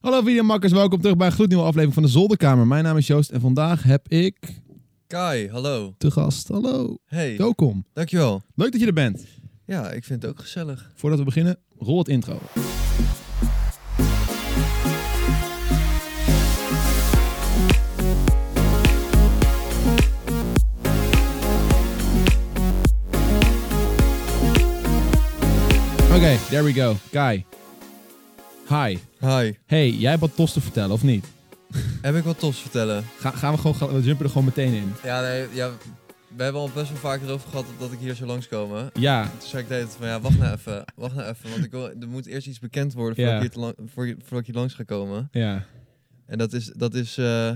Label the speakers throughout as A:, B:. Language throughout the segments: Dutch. A: Hallo videomakkers, welkom terug bij een gloednieuwe aflevering van de Zolderkamer. Mijn naam is Joost en vandaag heb ik
B: Kai, hallo.
A: te gast, hallo,
B: Hey,
A: welkom.
B: dankjewel.
A: Leuk dat je er bent.
B: Ja, ik vind het ook gezellig.
A: Voordat we beginnen, rol het intro. Oké, there we go. Kai. Hi.
B: Hi,
A: Hey, jij hebt wat tos te vertellen, of niet?
B: heb ik wat tofs vertellen?
A: Ga, gaan we gewoon, gaan, we jumpen er gewoon meteen in.
B: Ja, nee, ja, we hebben al best wel vaak erover gehad dat ik hier zou langskomen.
A: Ja,
B: Toen zei ik deed van ja, wacht nou even, wacht nou even, want ik wil, er moet eerst iets bekend worden voordat,
A: Ja.
B: ik, hier te lang, voor, je- voordat ik hier langs ga komen.
A: ja.
B: En dat is, dat is, eh,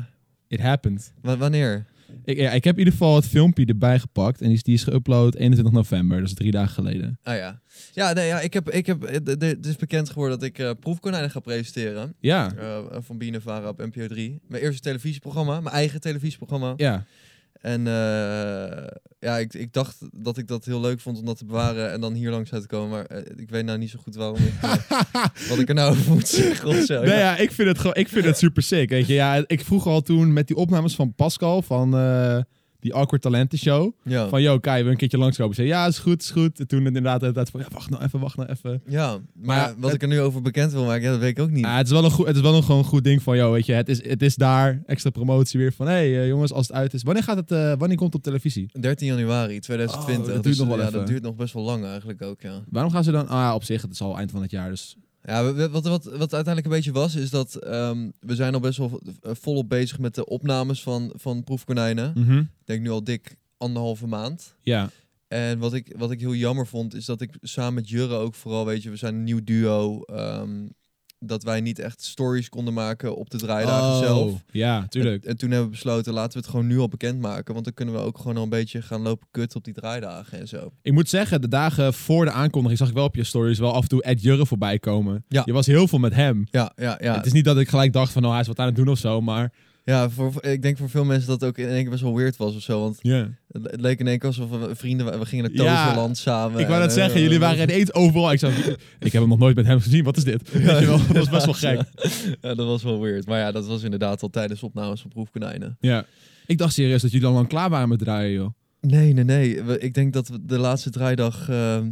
A: It happened.
B: wa- wanneer?
A: Ik, ja, ik heb in ieder geval het filmpje erbij gepakt. En die is, die is geüpload 21 november, dus drie dagen geleden.
B: Ah ja. Ja, nee, ja, ik heb, ik heb, het- het het is bekend geworden dat ik eh proefkonijnen ga presenteren.
A: Ja,
B: eh, van Bienenvara op NPO 3. Mijn eerste televisieprogramma, mijn eigen televisieprogramma.
A: ja.
B: En eh, ja, ik, ik dacht dat ik dat heel leuk vond om dat te bewaren en dan hier langs uit te komen. Maar eh, ik weet nou niet zo goed waarom ik, eh, wat ik er nou over moet zeggen of zo.
A: Nee,
B: ja.
A: ja, ik vind het gewoon, ik vind het super sick. Weet je, ja, ik vroeg al toen met die opnames van Pascal van eh, die Awkward Talenten Show.
B: Ja.
A: Van, yo, Kai, wil je een keertje langskomen? Zei, ja, is goed, is goed. En toen inderdaad de hele tijd van, ja, wacht nou even, wacht nou even.
B: Ja, maar
A: Maar
B: ja, wat
A: het-
B: ik er nu over bekend wil maken, ja, dat weet ik ook niet.
A: Ja, het is wel een goed, het is wel een gewoon goed ding van, joh, weet je, het is, het is daar extra promotie weer van, hé hey, eh, jongens, als het uit is, wanneer gaat het, eh, wanneer komt het op televisie?
B: 13 januari 2020.
A: Oh, dat duurt nog wel
B: ja,
A: even.
B: dat duurt nog best wel lang eigenlijk ook, ja.
A: Waarom gaan ze dan, ah ja, op zich, het is al eind van het jaar, dus
B: Ja, we- we- wat, wat, wat uiteindelijk een beetje was, is dat ehm, we zijn al best wel v- eh, volop bezig met de opnames van, van proefkonijnen. Ik denk nu al dik anderhalve maand.
A: ja,
B: En wat ik, wat ik heel jammer vond, is dat ik samen met Jurre ook vooral, weet je, we zijn een nieuw duo. ehm, dat wij niet echt stories konden maken op de draaidagen zelf.
A: ja, Oh, tuurlijk.
B: En, en toen hebben we besloten, laten we het gewoon nu al bekendmaken. Want dan kunnen we ook gewoon al een beetje gaan lopen kut op die draaidagen en zo.
A: Ik moet zeggen, de dagen voor de aankondiging zag ik wel op je stories wel af en toe Ed Jurre voorbij komen.
B: Ja.
A: Je was heel veel met hem.
B: Ja, ja, ja.
A: Het is niet dat ik gelijk dacht van, nou, hij is wat aan het doen of zo, maar
B: ja voor, voor- ik denk voor veel mensen dat het ook in één keer best wel weird was of zo. Want
A: ja
B: het, het leek in één keer alsof we vrienden waren. We gingen naar
A: Ja.
B: Toverland samen.
A: ik wou
B: en,
A: net zeggen,
B: eh,
A: jullie waren ineens overal. Ik, zei, ik heb hem nog nooit met hem gezien, wat is dit? Weet je wel, dat was best wel gek.
B: Ja, dat was wel weird. Maar ja, dat was inderdaad al tijdens opnames van Proefkonijnen.
A: Ja. Ik dacht serieus dat jullie dan lang klaar waren met draaien, joh.
B: Nee, nee, nee. We- ik denk dat we- de laatste draaidag ehm,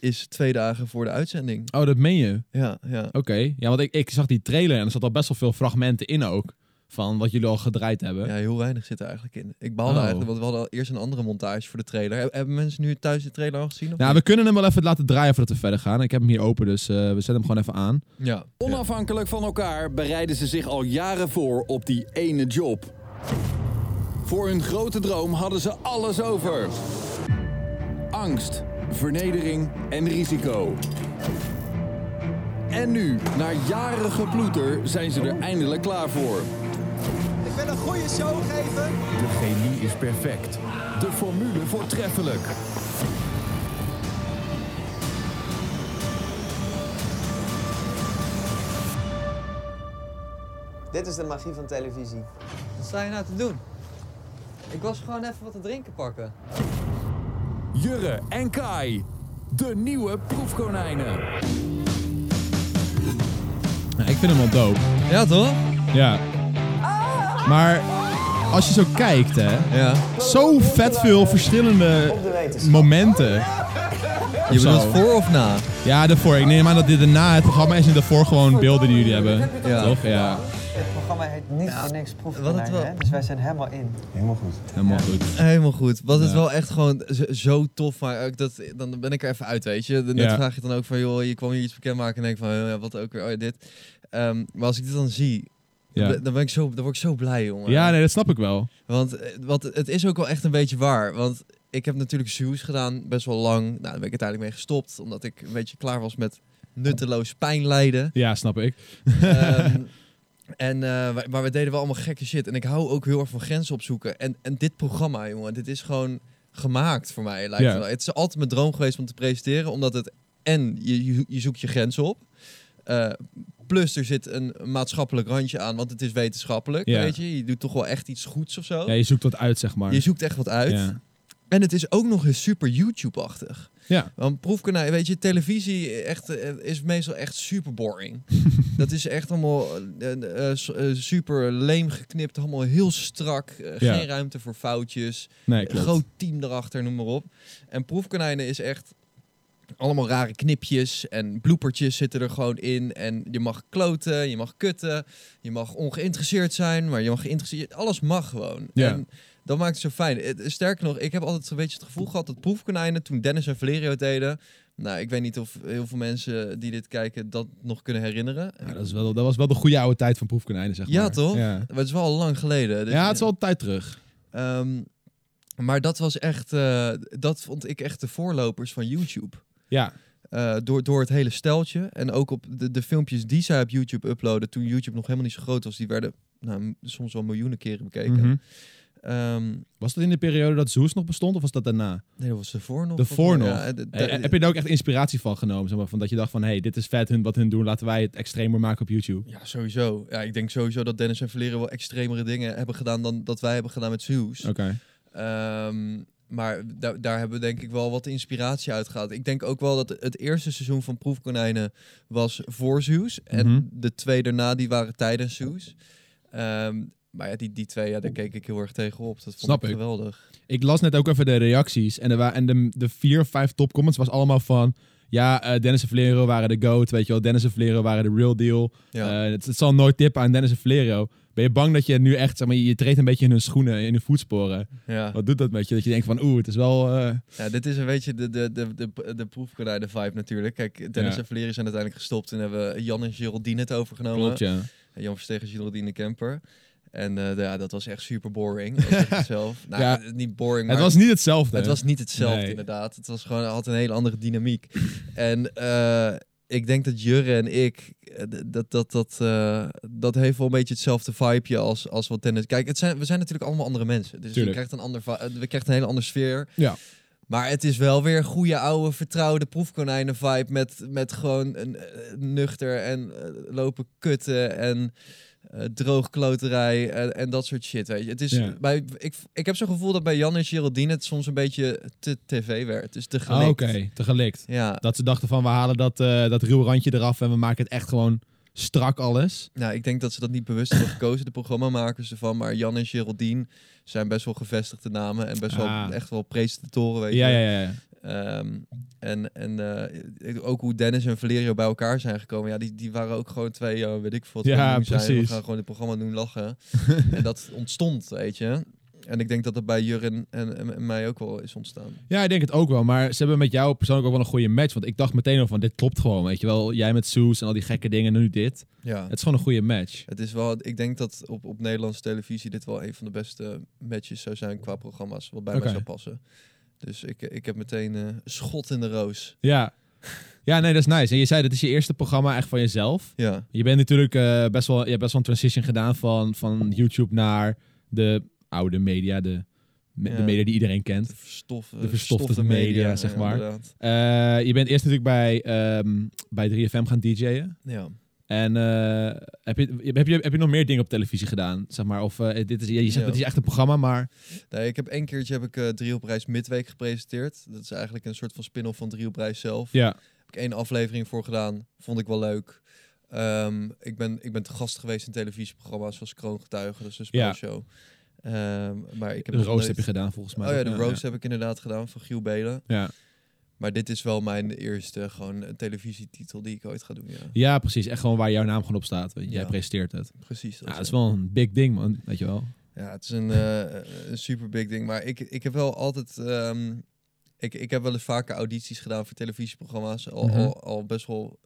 B: is twee dagen voor de uitzending.
A: Oh, dat meen je? Oké.
B: Ja, ja.
A: Ja, want ik, ik zag die trailer en er zat al best wel veel fragmenten in ook. Van wat jullie al gedraaid hebben.
B: ja, heel weinig zit er eigenlijk in. Ik baalde
A: Oh.
B: eigenlijk, want we hadden al eerst een andere montage voor de trailer. Heb- Hebben mensen nu thuis de trailer al gezien? Of
A: Nou, we
B: niet?
A: kunnen hem wel even laten draaien voordat we verder gaan. Ik heb hem hier open, dus eh, we zetten hem gewoon even aan.
B: ja.
C: Onafhankelijk van elkaar bereiden ze zich al jaren voor op die ene job. Voor hun grote droom hadden ze alles over. Angst, vernedering en risico. En nu, na jaren geploeter, zijn ze er eindelijk klaar voor.
D: Ik wil een goede show geven.
C: De chemie is perfect. De formule voortreffelijk.
D: Dit is de magie van televisie.
E: Wat sta je nou te doen? Ik was gewoon even wat te drinken pakken.
C: Jurre en Kai, de nieuwe proefkonijnen.
A: Nou, ik vind hem wel dope.
B: ja, toch?
A: Ja. Maar als je zo kijkt, hè.
B: Ja.
A: Zo vet veel verschillende
D: De wetenschap.
A: momenten.
B: Je
A: zo.
B: bedoelt voor of na?
A: Ja, daarvoor. Ik neem aan dat dit daarna het programma is en daarvoor gewoon beelden die jullie hebben.
B: Ja.
A: Toch? Ja.
E: Het programma heet niet voor niks
B: wat
E: proefkonijn,
B: het wel-
E: hè? Dus wij zijn helemaal in.
A: Helemaal goed.
B: Helemaal goed. Was het
A: Ja.
B: wel echt gewoon zo, zo tof. Maar ook dat, dan ben ik er even uit, weet je. Net
A: Ja.
B: vraag je dan ook van, joh, je kwam hier iets bekendmaken. En denk van, eh, wat ook weer, oh ja, dit. Ehm, maar als ik dit dan zie,
A: Ja.
B: dan, ben ik zo, dan word ik zo blij, jongen.
A: Ja, nee, dat snap ik wel.
B: Want eh, wat, het is ook wel echt een beetje waar. Want ik heb natuurlijk zoos gedaan, best wel lang. Nou, daar ben ik uiteindelijk mee gestopt, omdat ik een beetje klaar was met nutteloos pijn lijden.
A: Ja, snap ik.
B: Ehm, en, eh, wij- maar we deden wel allemaal gekke shit. En ik hou ook heel erg van grenzen opzoeken. En, en dit programma, jongen, dit is gewoon gemaakt voor mij. Lijkt
A: Ja.
B: het wel. Het is altijd mijn droom geweest om te presenteren, omdat het... En je, je, je zoekt je grenzen op. Eh, plus er zit een maatschappelijk randje aan, want het is wetenschappelijk,
A: Ja.
B: weet je. Je doet toch wel echt iets goeds of zo.
A: Ja, je zoekt wat uit, zeg maar.
B: Je zoekt echt wat uit.
A: Ja.
B: En het is ook nog eens super YouTube-achtig.
A: Ja.
B: Want proefkanaal, nou, weet je, televisie echt, eh, is meestal echt super boring. dat is echt allemaal eh, eh, s- eh, super leem geknipt, allemaal heel strak. eh,
A: Ja.
B: Geen ruimte voor foutjes.
A: Nee,
B: Een
A: klopt.
B: groot team erachter, noem maar op. En proefkonijnen is echt allemaal rare knipjes en bloopertjes zitten er gewoon in. En je mag kloten, je mag kutten, je mag ongeïnteresseerd zijn, maar je mag geïnteresseerd... Alles mag gewoon.
A: Ja.
B: En dat maakt het zo fijn. Het- Sterker nog, ik heb altijd een beetje het gevoel gehad dat proefkonijnen, toen Dennis en Valerio het deden... Nou, ik weet niet of heel veel mensen die dit kijken dat nog kunnen herinneren.
A: Ja, dat, is wel, dat was wel de goede oude tijd van proefkonijnen, zeg maar.
B: Ja, toch?
A: Ja,
B: Maar het is wel al lang geleden. dus-
A: ja het is al een tijd terug.
B: Ehm, maar dat was echt, eh, dat vond ik echt de voorlopers van YouTube.
A: Ja,
B: Eh, door, door het hele steltje. En ook op de, de filmpjes die zij op YouTube uploaden, toen YouTube nog helemaal niet zo groot was, die werden nou, m- soms wel miljoenen keren bekeken.
A: Mhm.
B: Ehm,
A: Was dat in de periode dat Zeus nog bestond of was dat daarna?
B: nee, dat was ervoor nog.
A: De
B: volgens
A: voor
B: mij.
A: nog.
B: Ja, de- de-
A: Hey, heb je daar ook echt inspiratie van genomen? Zeg maar, van dat je dacht van, hey, dit is vet hun, wat hun doen. Laten wij het extremer maken op YouTube.
B: ja, sowieso. Ja, ik denk sowieso dat Dennis en Valero wel extremere dingen hebben gedaan dan dat wij hebben gedaan met Zeus.
A: Oké.
B: Ehm, maar da- daar hebben we denk ik wel wat inspiratie uit gehad. Ik denk ook wel dat het eerste seizoen van Proefkonijnen was voor Zeus.
A: Mhm.
B: En de twee daarna, die waren tijdens Zeus. Ehm, maar ja, die, die twee, ja, daar keek ik heel erg tegenop. Dat vond
A: Snap
B: ik
A: ik.
B: geweldig.
A: Ik las net ook even de reacties. En, er wa- en de, de vier of vijf topcomments was allemaal van... Ja, eh, Dennis en Valero waren de GOAT, weet je wel. Dennis en Valero waren de real deal.
B: Ja.
A: Eh, het, het zal nooit tippen aan Dennis en Valero. Ben je bang dat je nu echt, zeg maar, je, je treedt een beetje in hun schoenen, in hun voetsporen.
B: ja.
A: Wat doet dat met je? Dat je denkt van, oeh, het is wel... eh,
B: ja, dit is een beetje de, de, de, de, de Proefkonijnen-vibe natuurlijk. Kijk, Dennis
A: Ja.
B: en Vleren zijn uiteindelijk gestopt. En hebben Jan en Geraldine het overgenomen.
A: klopt, ja.
B: Jan Verstegen, Geraldine Kemper. En eh, ja, dat was echt super boring. Ik zeg het zelf. Nou,
A: Ja.
B: niet boring, maar...
A: Het was niet hetzelfde.
B: Het was niet hetzelfde,
A: Nee.
B: inderdaad. Het was gewoon, het had een hele andere dynamiek. en eh, ik denk dat Jurre en ik, eh, d- dat, dat, dat, eh, dat heeft wel een beetje hetzelfde vibeje als, als wat Dennis... Kijk, het zijn, we zijn natuurlijk allemaal andere mensen. Dus je
A: Tuurlijk.
B: krijgt een ander, vi- eh, we krijgen een hele andere sfeer.
A: Ja.
B: Maar het is wel weer een goede, oude, vertrouwde proefkonijnen-vibe met, met gewoon een eh, nuchter en eh, lopen kutten en eh, droogkloterij en, en dat soort shit, weet je. Het is,
A: Ja.
B: bij, ik, ik heb zo'n gevoel dat bij Jan en Geraldine het soms een beetje te tv werd. Dus te
A: Ah,
B: gelikt.
A: Oké, te gelikt.
B: Ja,
A: Dat ze dachten van, we halen dat, eh dat ruwe randje eraf en we maken het echt gewoon strak alles.
B: nou, ik denk dat ze dat niet bewust hebben gekozen, de programmamakers ervan. Maar Jan en Geraldine zijn best wel gevestigde namen en best
A: Ah.
B: wel echt wel presentatoren, weet je.
A: Ja, ja, ja. ja.
B: Ehm, en en eh, ik- ook hoe Dennis en Valerio bij elkaar zijn gekomen. Ja, die, die waren ook gewoon twee, eh, weet ik veel wat. we
A: Ja,
B: aan het doen zijn. We
A: precies.
B: gaan gewoon het programma doen lachen. en dat ontstond, weet je. En ik denk dat dat bij Jurgen en, en, en mij ook wel is ontstaan.
A: Ja, ik denk het ook wel. Maar ze hebben met jou persoonlijk ook wel een goede match. Want ik dacht meteen al van, dit klopt gewoon, weet je wel. Jij met Soes en al die gekke dingen, nu dit.
B: Ja.
A: Het is gewoon een goede match.
B: Het is wel, ik denk dat op, op Nederlandse televisie dit wel een van de beste matches zou zijn qua programma's. Wat bij
A: Oké.
B: mij zou passen. Dus ik, ik heb meteen eh, schot in de roos.
A: Ja. Ja, nee, dat is nice. En je zei, dit is je eerste programma echt van jezelf.
B: Ja,
A: Je bent natuurlijk eh, best, wel, je hebt best wel een transition gedaan van, van YouTube naar de oude media. De, me-
B: Ja.
A: de media die iedereen kent.
B: de, verstof,
A: De verstofte media, zeg
B: ja,
A: maar.
B: inderdaad.
A: Eh, je bent eerst natuurlijk bij, ehm, bij 3FM gaan DJ'en.
B: Ja.
A: En eh, heb, je, heb, je, heb je nog meer dingen op televisie gedaan? Zeg maar, of eh, dit is, je zegt
B: Ja.
A: dat is echt een programma, maar
B: Nee, ik heb één keertje heb ik eh drie op reis midweek gepresenteerd. Dat is eigenlijk een soort van spin-off van drie op reis zelf.
A: ja.
B: Heb ik één aflevering voor gedaan. Vond ik wel leuk. Ehm, ik, ben, ik ben te gast geweest in televisieprogramma's zoals Kroongetuigen. Dus een
A: Ja.
B: spelshow. Ehm, maar ik
A: de
B: heb nog
A: roast
B: nooit-
A: heb je gedaan volgens mij.
B: Oh ja,
A: toch?
B: de roast heb ik inderdaad gedaan van Giel Belen.
A: Ja. Ja.
B: Maar dit is wel mijn eerste gewoon eh, televisietitel die ik ooit ga doen. Ja,
A: Ja, precies. Echt gewoon waar jouw naam gewoon op staat. Weet je. Jij
B: Ja.
A: presenteert het.
B: precies.
A: Ja, dat is
B: ja.
A: wel een big ding, man. Weet je wel.
B: Ja, het is een, eh, een super big ding. Maar ik, ik heb wel altijd. ehm, ik, ik heb wel eens vaker audities gedaan voor televisieprogramma's. Al,
A: Mhm.
B: al, al best wel.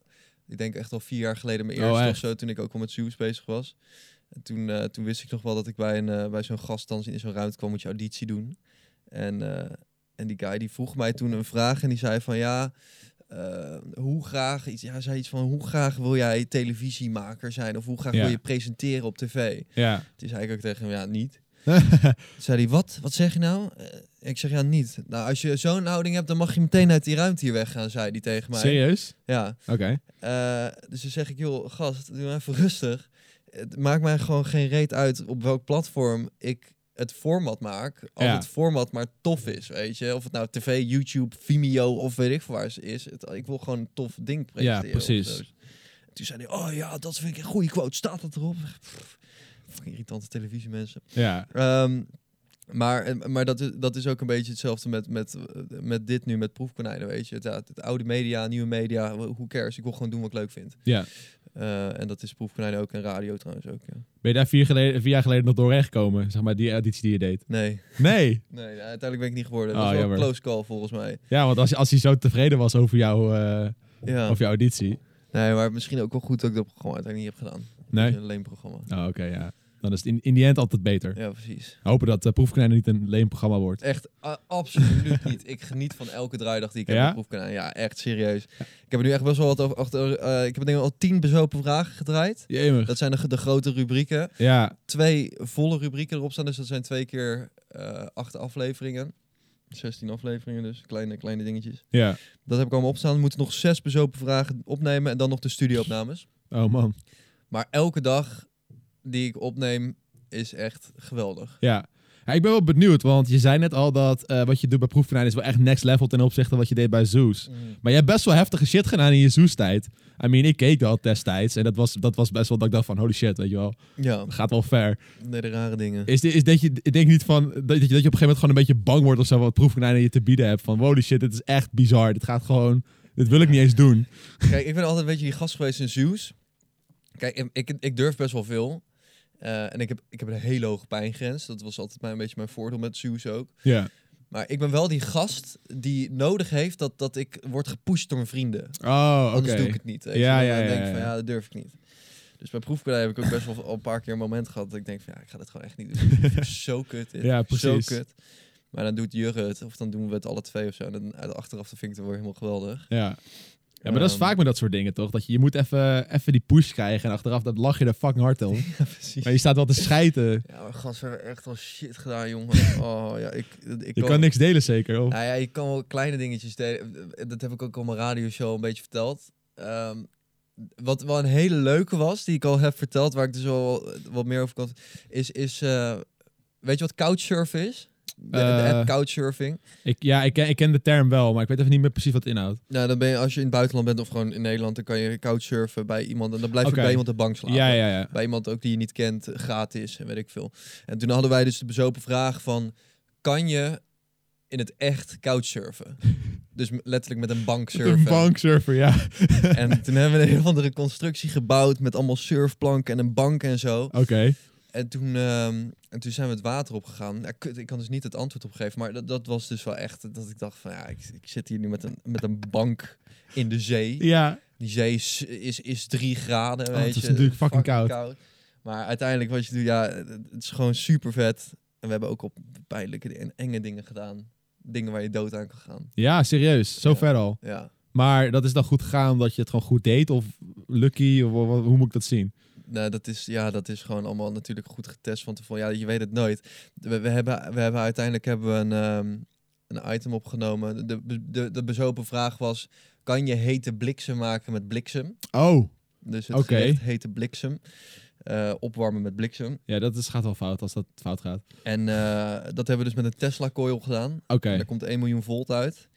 B: Ik denk echt al vier jaar geleden mijn
A: Oh,
B: eerste of
A: echt?
B: zo. Toen ik ook al met Zeus bezig was. En toen, eh, toen wist ik nog wel dat ik bij, een, eh, bij zo'n gast dan in zo'n ruimte kwam. Moet je auditie doen. En, eh, en die guy die vroeg mij toen een vraag. En die zei van ja. eh, hoe graag, iets, ja, hij zei iets van hoe graag wil jij televisiemaker zijn of hoe graag
A: Ja.
B: wil je presenteren op tv?
A: Ja.
B: Toen zei ik ook tegen hem, ja, niet. Toen zei hij, wat? Wat zeg je nou? Eh, ik zeg, ja, niet. Nou, als je zo'n houding hebt, dan mag je meteen uit die ruimte hier weggaan, zei hij tegen mij.
A: Serieus?
B: Ja.
A: Oké.
B: Eh, dus dan zeg ik, joh, gast, doe maar even rustig. Het maakt mij gewoon geen reet uit op welk platform ik het format maak, als
A: Ja.
B: het format maar tof is, weet je. Of het nou tv, YouTube, Vimeo of weet ik veel waar ze is. Het, ik wil gewoon een tof ding presenteren. of
A: precies.
B: zo. Toen zei hij, oh ja, dat vind ik een goede quote. Staat dat erop? Pff, fucking irritante televisie, mensen.
A: Ja.
B: Ehm, maar eh, maar dat, is, dat is ook een beetje hetzelfde met, met, eh, met dit nu, met proefkonijnen, weet je. Het, ja, het oude media, nieuwe media, who cares. Ik wil gewoon doen wat ik leuk vind.
A: ja.
B: Eh, en dat is proefkonijnen ook en radio trouwens ook, ja.
A: Ben je daar vier, geleden, vier jaar geleden nog doorheen gekomen? Zeg maar die auditie die je deed.
B: Nee,
A: Nee.
B: nee ja, uiteindelijk ben ik niet geworden.
A: Oh,
B: dat was wel
A: jammer.
B: een close call volgens mij.
A: Ja, want als, als hij zo tevreden was over, jou, eh,
B: Ja.
A: over jouw auditie.
B: Nee, maar misschien ook wel goed dat ik dat programma uiteindelijk niet heb gedaan.
A: Nee?
B: Een leenprogramma.
A: Oh, oké, ja. Dan is het in, in die end altijd beter.
B: Ja, precies.
A: Hopen dat eh, Proefkonijnen niet een leenprogramma wordt.
B: Echt a- absoluut niet. Ik geniet van elke draaidag die ik
A: Ja?
B: heb proefkanaal. Ja, echt serieus. Ik heb er nu echt best wel wat over. achter- eh, ik heb denk ik al tien bezopen vragen gedraaid.
A: Jemig.
B: Dat zijn de, de grote rubrieken.
A: Ja.
B: Twee volle rubrieken erop staan. Dus dat zijn twee keer eh, acht afleveringen. 16 afleveringen dus. Kleine, kleine dingetjes.
A: Ja.
B: Dat heb ik allemaal opstaan. We moeten nog zes bezopen vragen opnemen. En dan nog de studioopnames.
A: Oh man.
B: Maar elke dag die ik opneem is echt geweldig.
A: Ja. Ja, ik ben wel benieuwd, want je zei net al dat eh, wat je doet bij Proefkonijnen is wel echt next level ten opzichte van wat je deed bij Zoos. Maar jij hebt best wel heftige shit gedaan in je Zoos-tijd. I mean, ik keek dat destijds en dat was, dat was best wel dat ik dacht van holy shit, weet je wel.
B: Ja,
A: Gaat wel ver.
B: nee, de rare dingen.
A: Is, dit- is dat je, ik denk niet van, dat je, dat je op een gegeven moment gewoon een beetje bang wordt of zo wat Proefkonijnen je te bieden hebt. Van holy shit, dit is echt bizar. Dit gaat gewoon, dit wil ik niet eens doen.
B: Kijk, ik ben altijd een beetje die gast geweest in Zeus. Kijk, ik, ik, ik durf best wel veel. Eh, en ik heb, ik heb een hele hoge pijngrens. Dat was altijd mijn, een beetje mijn voordeel met Zeus ook.
A: Ja.
B: Maar ik ben wel die gast die nodig heeft dat, dat ik word gepusht door mijn vrienden.
A: Oh, oké.
B: Anders doe ik het niet. weet je
A: Ja,
B: wel.
A: ja,
B: Dan
A: ja,
B: denk ik
A: ja,
B: van
A: ja.
B: ja, dat durf ik niet. Dus bij proefkonijn heb ik ook best wel al een paar keer een moment gehad dat ik denk van ja, ik ga dit gewoon echt niet doen. Ik vind het zo kut dit.
A: Ja,
B: Zo
A: precies.
B: kut. Maar dan doet Jurre het, of dan doen we het alle twee of zo. En dan uit- achteraf vind ik het wel helemaal geweldig.
A: Ja. Ja, maar dat is
B: Ehm.
A: vaak met dat soort dingen, toch? Dat je, je moet even even die push krijgen en achteraf dat lach je er fucking hard om.
B: Ja, precies.
A: Maar je staat wel te schijten.
B: Ja, maar gast, we hebben echt al shit gedaan, jongen. Oh ja, ik, ik
A: Je kan niks delen, zeker. Of?
B: Nou ja, je kan wel kleine dingetjes delen. Dat heb ik ook op mijn radioshow een beetje verteld. Ehm, wat wel een hele leuke was, die ik al heb verteld, waar ik dus wel wat meer over kan, is, is eh, weet je wat couchsurf is? De, de
A: Eh.
B: app couchsurfing.
A: Ik, ja, ik ken, ik ken de term wel, maar ik weet even niet meer precies wat het inhoudt.
B: Nou, dan ben je, als je in het buitenland bent of gewoon in Nederland, dan kan je couchsurfen bij iemand en dan blijf
A: Oké.
B: je bij iemand op de bank slapen.
A: Ja, ja, ja.
B: bij iemand ook die je niet kent, eh, gratis en weet ik veel. En toen hadden wij dus de bezopen vraag van, kan je in het echt couchsurfen? Dus m- letterlijk met een bank surfen.
A: Een banksurfer, ja.
B: En toen hebben we een heel andere constructie gebouwd met allemaal surfplanken en een bank en zo.
A: Oké.
B: En toen, ehm, en toen zijn we het water opgegaan. Ja, kut, ik kan dus niet het antwoord opgeven, maar dat, dat was dus wel echt dat ik dacht van ja, ik, ik zit hier nu met een, met een bank in de zee.
A: Ja.
B: Die zee is, is, is drie graden,
A: Oh,
B: weet
A: het is
B: je.
A: natuurlijk fucking koud.
B: Maar uiteindelijk wat je doet, ja, het is gewoon super vet. En we hebben ook op pijnlijke en enge dingen gedaan. Dingen waar je dood aan kan gaan.
A: Ja, serieus. Zo
B: Ja.
A: ver al.
B: Ja.
A: Maar dat is dan goed gegaan omdat je het gewoon goed deed? Of lucky? Of wa- wa- hoe moet ik dat zien?
B: Nou, dat is, ja, dat is gewoon allemaal natuurlijk goed getest van tevoren. Ja, je weet het nooit. We, we, hebben, we hebben uiteindelijk hebben we een, ehm, een item opgenomen. De, de, de bezopen vraag was, kan je hete bliksem maken met bliksem?
A: Oh.
B: Dus het
A: Oké.
B: gerecht hete bliksem. eh, opwarmen met bliksem.
A: Ja, dat is, gaat wel fout als dat fout gaat.
B: En eh, dat hebben we dus met een Tesla coil gedaan.
A: Oké.
B: Daar komt 1 miljoen volt uit.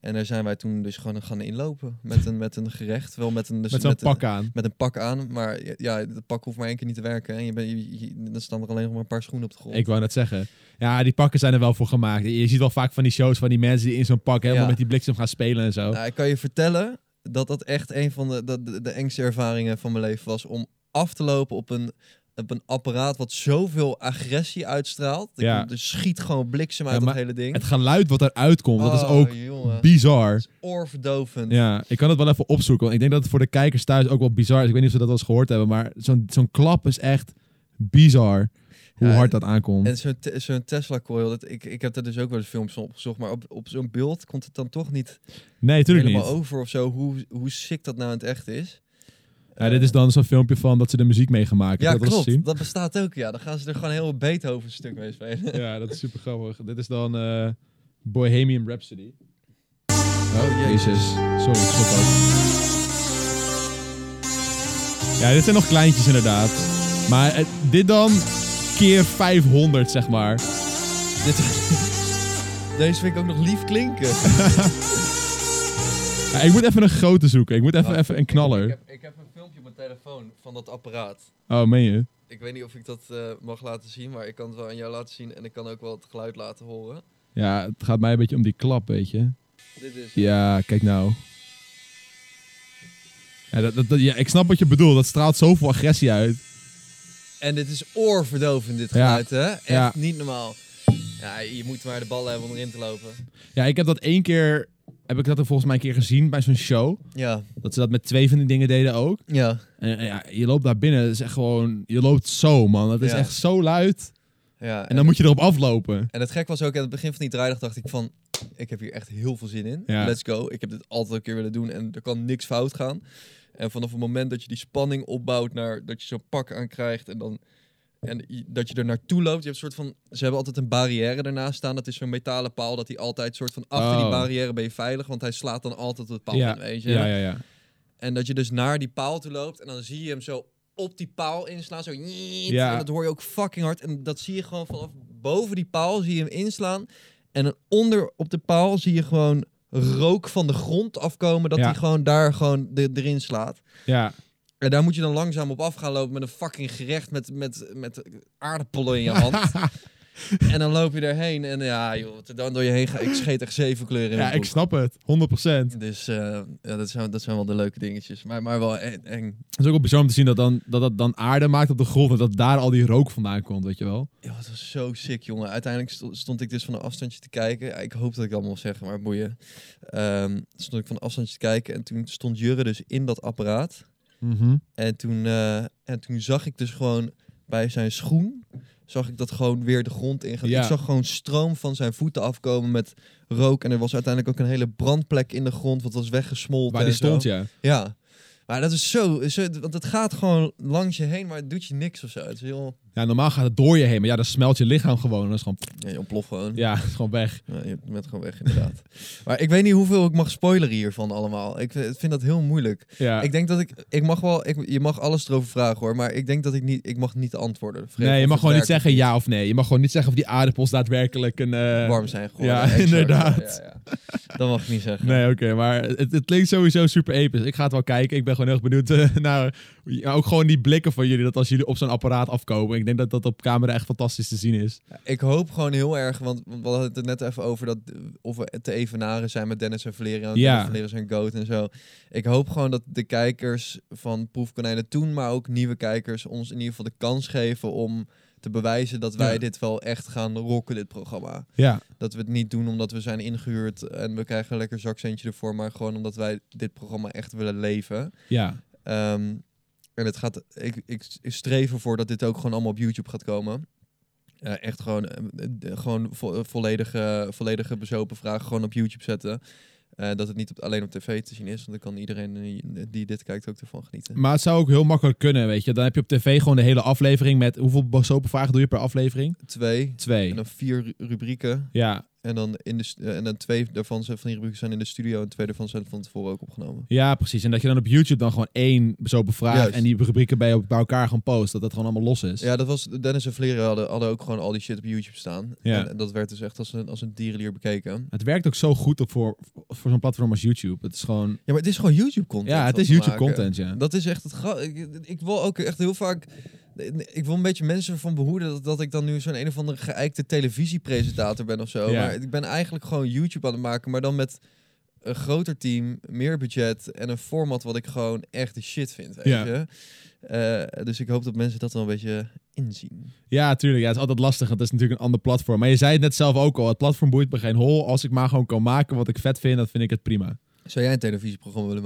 B: En daar zijn wij toen dus gewoon gaan inlopen. Met een, met een gerecht. Wel met een, dus
A: Met zo'n
B: een-
A: pak aan.
B: met een pak aan. Maar ja, ja, dat pak hoeft maar één keer niet te werken. En je bent je, je- dan staan er alleen nog maar een paar schoenen op de grond.
A: Ik wou net zeggen. Ja, die pakken zijn er wel voor gemaakt. Je ziet wel vaak van die shows van die mensen die in zo'n pak helemaal
B: Ja.
A: met die bliksem gaan spelen en zo.
B: Nou, ik kan je vertellen dat dat echt een van de, de, de, de engste ervaringen van mijn leven was. Om af te lopen op een, op een apparaat wat zoveel agressie uitstraalt.
A: Ja.
B: Er schiet gewoon bliksem uit
A: Ja,
B: dat
A: maar
B: hele ding.
A: Het geluid wat eruit komt, dat is
B: Oh,
A: ook
B: jongen.
A: bizar.
B: Het is oorverdovend.
A: Ja, ik kan het wel even opzoeken. Want ik denk dat het voor de kijkers thuis ook wel bizar is. Ik weet niet of ze dat wel eens gehoord hebben. Maar zo'n zo'n klap is echt bizar. Hoe
B: Ja,
A: hard dat aankomt.
B: En zo'n te- zo'n Tesla coil, dat, ik, ik heb daar dus ook wel eens films van opgezocht, maar op, op zo'n beeld komt het dan toch niet
A: nee, natuurlijk niet.
B: helemaal over of zo, hoe, hoe sick dat nou in het echt is.
A: Ja, dit is dan zo'n filmpje van dat ze de muziek meegemaakt
B: Ja,
A: hebben. dat wel eens
B: klopt. Dat bestaat ook, ja. Dan gaan ze er gewoon een heel Beethoven stuk mee spelen.
A: gezien? Ja, dat is super grappig. Dit is dan eh, Bohemian Rhapsody. Oh, jezus. Sorry, stop ook. Ja, dit zijn nog kleintjes inderdaad. Maar eh, dit dan keer 500, zeg maar.
B: Dit, deze vind ik ook nog lief klinken.
A: Ja, ik moet even een grote zoeken. Ik moet even,
B: Wacht,
A: even een
B: Ik
A: knaller.
B: heb, ik heb een filmpje op mijn telefoon van dat apparaat.
A: Oh, meen je?
B: Ik weet niet of ik dat eh, mag laten zien, maar ik kan het wel aan jou laten zien. En ik kan ook wel het geluid laten horen.
A: Ja, het gaat mij een beetje om die klap, weet je.
B: Dit is...
A: Ja, kijk nou. Ja, dat, dat, dat- ja, ik snap wat je bedoelt. Dat straalt zoveel agressie uit.
B: En dit is oorverdovend, dit
A: Ja.
B: geluid, hè? Echt
A: Ja.
B: niet normaal. Ja, je moet maar de ballen hebben om erin te lopen.
A: Ja, ik heb dat één keer... Heb ik dat er volgens mij een keer gezien bij zo'n show.
B: Ja,
A: Dat ze dat met twee van die dingen deden ook.
B: ja.
A: En, en ja, je loopt daar binnen. Het is echt gewoon... Je loopt zo, man. Het is
B: Ja.
A: echt zo luid.
B: ja.
A: En dan moet je erop aflopen.
B: En het gek was ook, aan het begin van die draaidag dacht ik van... Ik heb hier echt heel veel zin in.
A: Ja.
B: Let's go. Ik heb dit altijd een keer willen doen en er kan niks fout gaan. En vanaf het moment dat je die spanning opbouwt naar... Dat je zo'n pak aan krijgt en dan... En i- dat je er naartoe loopt. Je hebt een soort van... Ze hebben altijd een barrière ernaast staan. Dat is zo'n metalen paal. Dat hij altijd soort van... Achter die
A: Oh.
B: barrière ben je veilig. Want hij slaat dan altijd het paal
A: ja.
B: in, weet je.
A: ja, ja, ja.
B: En dat je dus naar die paal toe loopt. En dan zie je hem zo op die paal inslaan. Zo niet.
A: Ja.
B: En dat hoor je ook fucking hard. En dat zie je gewoon vanaf boven die paal zie je hem inslaan. En dan onder op de paal zie je gewoon rook van de grond afkomen. Dat
A: Ja.
B: hij gewoon daar gewoon de, erin slaat.
A: Ja,
B: En daar moet je dan langzaam op af gaan lopen met een fucking gerecht met, met, met aardappelen in je hand. en dan loop je erheen. En ja, joh, wat er dan door je heen gaat. Ik scheet echt zeven kleuren in
A: ja
B: mijn
A: ik
B: broek.
A: snap het. 100%.
B: Dus eh, ja, dat, zijn, dat zijn wel de leuke dingetjes. Maar, maar wel e- eng.
A: Het is ook wel bijzonder om te zien dat, dan, dat dat dan aarde maakt op de grond en dat daar al die rook vandaan komt, weet je wel.
B: Ja, dat was zo sick, jongen. Uiteindelijk sto- stond ik dus van een afstandje te kijken. Ja, Ik hoop dat ik het allemaal zeg, maar boeien. Ehm, stond ik van een afstandje te kijken en toen stond Jurre dus in dat apparaat. En toen, eh, en toen zag ik dus gewoon bij zijn schoen, zag ik dat gewoon weer de grond ingaan.
A: Ja.
B: Ik zag gewoon stroom van zijn voeten afkomen met rook. En er was uiteindelijk ook een hele brandplek in de grond, wat was weggesmolten.
A: Waar die
B: en zo.
A: stond, ja.
B: Ja. Maar dat is zo, zo, want het gaat gewoon langs je heen, maar het doet je niks of zo. Het is heel,
A: ja. Normaal gaat het door je heen, maar ja, dan smelt je lichaam gewoon. en Dat is gewoon,
B: ja, je ontploft gewoon.
A: ja, het is gewoon weg.
B: Ja, je bent gewoon weg, inderdaad. maar ik weet niet hoeveel ik mag spoileren hiervan allemaal. Ik vind vind dat heel moeilijk.
A: Ja.
B: Ik denk dat ik... Ik mag wel... Ik, je mag alles erover vragen, hoor. Maar ik denk dat ik niet... Ik mag niet antwoorden. Vreemd
A: nee, je
B: of
A: mag
B: het
A: gewoon niet
B: werkt
A: zeggen
B: of
A: ja of nee. Je mag gewoon niet zeggen of die aardappels daadwerkelijk een... eh,
B: warm zijn geworden.
A: Ja,
B: exact.
A: inderdaad.
B: Ja, ja, ja. Dat mag ik niet zeggen.
A: Nee, oké, maar het, het klinkt sowieso super episch. Ik ga het wel kijken. Ik ben gewoon heel erg benieuwd eh, naar ja, ook gewoon die blikken van jullie. Dat als jullie op zo'n apparaat afkomen. Ik denk dat dat op camera echt fantastisch te zien is.
B: Ik hoop gewoon heel erg, want we hadden het er net even over dat eh, of we te evenaren zijn met Dennis en Valerian.
A: Ja.
B: Dennis en Valerian zijn goat en zo. Ik hoop gewoon dat de kijkers van Proefkonijnen toen, maar ook nieuwe kijkers, ons in ieder geval de kans geven om te bewijzen dat wij
A: Ja.
B: dit wel echt gaan rocken, dit programma.
A: Ja,
B: Dat we het niet doen omdat we zijn ingehuurd en we krijgen een lekker zakcentje ervoor, maar gewoon omdat wij dit programma echt willen leven.
A: ja,
B: Ehm, en het gaat, ik, ik, ik streef ervoor dat dit ook gewoon allemaal op YouTube gaat komen. Eh, echt gewoon, eh, de- gewoon vo- eh, volledige, volledige bezopen vragen gewoon op YouTube zetten. Eh, dat het niet op, alleen op tv te zien is, want dan kan iedereen eh, die dit kijkt ook ervan genieten.
A: maar het zou ook heel makkelijk kunnen, weet je. Dan heb je op tv gewoon de hele aflevering met... Hoeveel soapvragen doe je per aflevering?
B: Twee,
A: Twee.
B: en dan vier ru- rubrieken.
A: Ja,
B: En dan, in de, stu- eh, en dan twee daarvan zijn, van die rubrieken zijn in de studio en twee daarvan zijn van tevoren ook opgenomen.
A: ja, precies. En dat je dan op YouTube dan gewoon één bezopen vraag
B: Juist.
A: en die rubrieken bij, bij elkaar gewoon post. Dat dat gewoon allemaal los is.
B: Ja, dat was, Dennis en Vleren hadden, hadden ook gewoon al die shit op YouTube staan.
A: Ja.
B: En, en dat werd dus echt als een, als een dierenlier bekeken.
A: Het werkt ook zo goed op voor, voor zo'n platform als YouTube. Het is gewoon...
B: Ja, maar het is gewoon YouTube-content.
A: Ja, het
B: wat
A: is
B: we
A: YouTube
B: maken.
A: content, ja.
B: Dat is echt het gra- ik, ik wil ook echt heel vaak... Ik wil een beetje mensen ervan behoeden dat, dat ik dan nu zo'n een of andere geëikte televisiepresentator ben of zo.
A: Ja.
B: Maar ik ben eigenlijk gewoon YouTube aan het maken, maar dan met een groter team, meer budget en een format wat ik gewoon echt de shit vind, weet
A: Ja.
B: je. Eh, dus ik hoop dat mensen dat wel een beetje inzien.
A: Ja, tuurlijk. Ja, het is altijd lastig, want het is natuurlijk een ander platform. Maar je zei het net zelf ook al. Het platform boeit me geen hol. Als ik maar gewoon kan maken wat ik vet vind, dan vind ik het prima.
B: Zou jij een televisieprogramma willen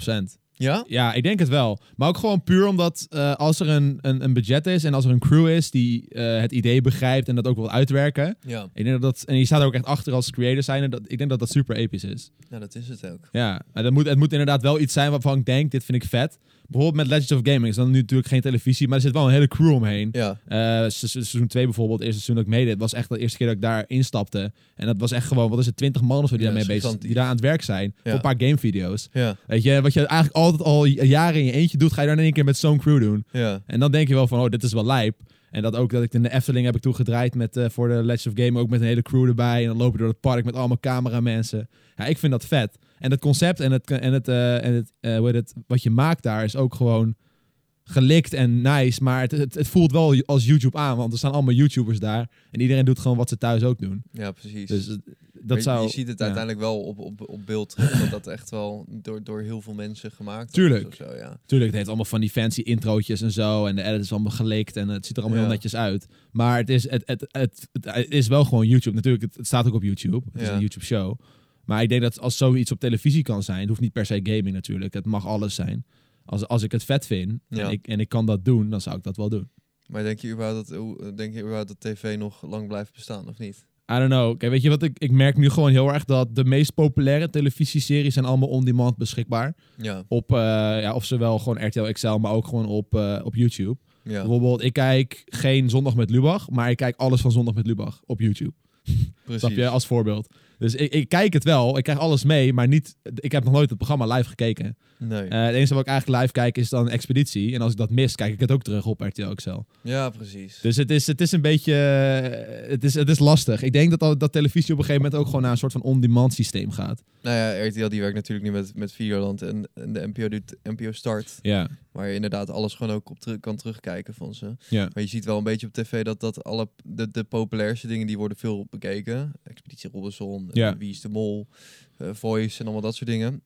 B: maken?
A: 100%.
B: Ja?
A: Ja, ik denk het wel. Maar ook gewoon puur omdat eh, als er een, een, een budget is en als er een crew is die eh, het idee begrijpt en dat ook wil uitwerken.
B: Ja,
A: Ik denk dat dat, en je staat er ook echt achter als creator zijn. En dat, ik denk dat dat super episch is.
B: nou dat is het ook.
A: Ja, maar dat moet, het moet inderdaad wel iets zijn waarvan ik denk, dit vind ik vet. Bijvoorbeeld met Legends of Gaming is dan nu natuurlijk geen televisie, maar er zit wel een hele crew omheen.
B: Ja,
A: Eh, se- se- seizoen 2 bijvoorbeeld, het eerste seizoen dat ik meedeed, was echt de eerste keer dat ik daar instapte. En dat was echt gewoon, wat is het, 20 man of zo die
B: Ja,
A: daarmee
B: dat is
A: bezig zijn, die
B: gigantisch.
A: daar aan het werk zijn. Voor een paar gamevideo's.
B: ja,
A: Weet je, wat je eigenlijk altijd al j- jaren in je eentje doet, ga je dan in één keer met zo'n crew doen.
B: ja.
A: En dan denk je wel van, oh, dit is wel lijp. En dat ook dat ik in de Efteling heb ik toen gedraaid met, eh, voor de Legends of Game. Ook met een hele crew erbij. En dan lopen we door het park met allemaal cameramensen. Ja, ik vind dat vet. En dat concept en het, en het, eh, en het, eh, hoe heet het wat je maakt daar is ook gewoon gelikt en nice. Maar het, het, het voelt wel als YouTube aan. Want er staan allemaal YouTubers daar. En iedereen doet gewoon wat ze thuis ook doen.
B: Ja, precies.
A: Dus eh,
B: Maar
A: dat
B: je-
A: zou...
B: je ziet het
A: ja.
B: uiteindelijk wel op, op, op beeld terug, dat dat echt wel door, door heel veel mensen gemaakt
A: Tuurlijk.
B: wordt. Tuurlijk. Zo, ja.
A: Tuurlijk, het heeft allemaal van die fancy introotjes en zo. En de edit is allemaal gelikt en het ziet er allemaal
B: Ja.
A: heel netjes uit. Maar het is, het, het, het, het, het is wel gewoon YouTube. Natuurlijk, het, het staat ook op YouTube. Het is
B: Ja.
A: een YouTube-show. Maar ik denk dat als zoiets op televisie kan zijn... Het hoeft niet per se gaming natuurlijk. Het mag alles zijn. Als, als ik het vet vind
B: Ja.
A: en, ik, en ik kan dat doen, dan zou ik dat wel doen.
B: Maar denk je, überhaupt dat, hoe- denk je überhaupt dat tv nog lang blijft bestaan, of niet?
A: I don't know. Kijk, weet je wat? Ik, ik merk nu gewoon heel erg dat de meest populaire televisieseries... zijn allemaal on-demand beschikbaar.
B: Ja,
A: Op, eh ja, of zowel gewoon RTL XL, maar ook gewoon op, eh, op YouTube.
B: ja
A: Bijvoorbeeld, ik kijk geen Zondag met Lubach, maar ik kijk alles van Zondag met Lubach op YouTube.
B: precies.
A: Snap je? Als voorbeeld. Dus ik, ik kijk het wel, ik krijg alles mee, maar niet, ik heb nog nooit het programma live gekeken.
B: Nee.
A: Eh, het enige wat ik eigenlijk live kijk is dan Expeditie. En als ik dat mis, kijk ik het ook terug op RTL XL.
B: ja, precies.
A: Dus het is, het is een beetje, eh, het is, het is lastig. Ik denk dat, al- dat televisie op een gegeven moment ook gewoon naar een soort van on-demand systeem gaat.
B: Nou ja, RTL die werkt natuurlijk nu met, met Videoland en, en de NPO doet NPO Start.
A: Ja,
B: Waar je inderdaad alles gewoon ook op terug kan terugkijken van ze.
A: ja.
B: Maar je ziet wel een beetje op tv dat, dat alle de, de populairste dingen die worden veel bekeken. Expeditie Robinson, eh,
A: Ja.
B: Wie is de Mol, eh, Voice en allemaal dat soort dingen.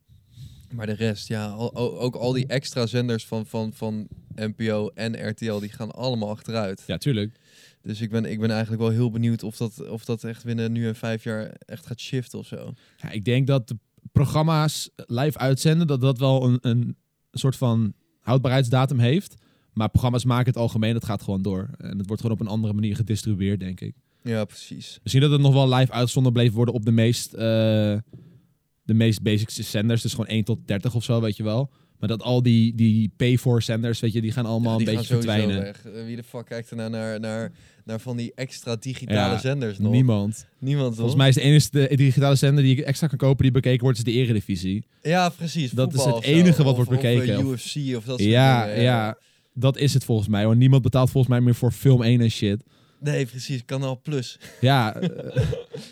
B: Maar de rest, ja, al- o- ook al die extra zenders van, van, van NPO en RTL, die gaan allemaal achteruit.
A: Ja, tuurlijk.
B: Dus ik ben, ik ben eigenlijk wel heel benieuwd of dat, of dat echt binnen nu en vijf jaar echt gaat shiften of zo.
A: Ja, ik denk dat de programma's live uitzenden, dat dat wel een, een soort van houdbaarheidsdatum heeft. Maar programma's maken het algemeen, dat gaat gewoon door. En het wordt gewoon op een andere manier gedistribueerd, denk ik.
B: Ja, precies.
A: Misschien dat het nog wel live uitgezonden bleef worden op de meest, eh, de meest basic zenders. Dus gewoon 1 tot 30 of zo, weet je wel. Maar dat al die, die pay-for zenders, weet je, die gaan allemaal
B: Ja, die
A: een
B: gaan
A: beetje
B: sowieso
A: verdwijnen.
B: weg. Eh, Wie de fuck kijkt er nou naar, naar, naar van die extra digitale
A: Ja,
B: zenders nog?
A: Niemand.
B: Niemand toch?
A: Volgens mij is de enige digitale zender die ik extra kan kopen die bekeken wordt, is de Eredivisie.
B: Ja, precies.
A: Dat is
B: voetbal
A: het
B: of zo.
A: enige wat
B: Of-
A: wordt
B: of, eh,
A: bekeken.
B: UFC of dat soort
A: ja,
B: dingen.
A: ja, dat is het volgens mij. Want niemand betaalt volgens mij meer voor film 1 en shit.
B: Nee, precies. Kanaal Plus.
A: Ja, eh,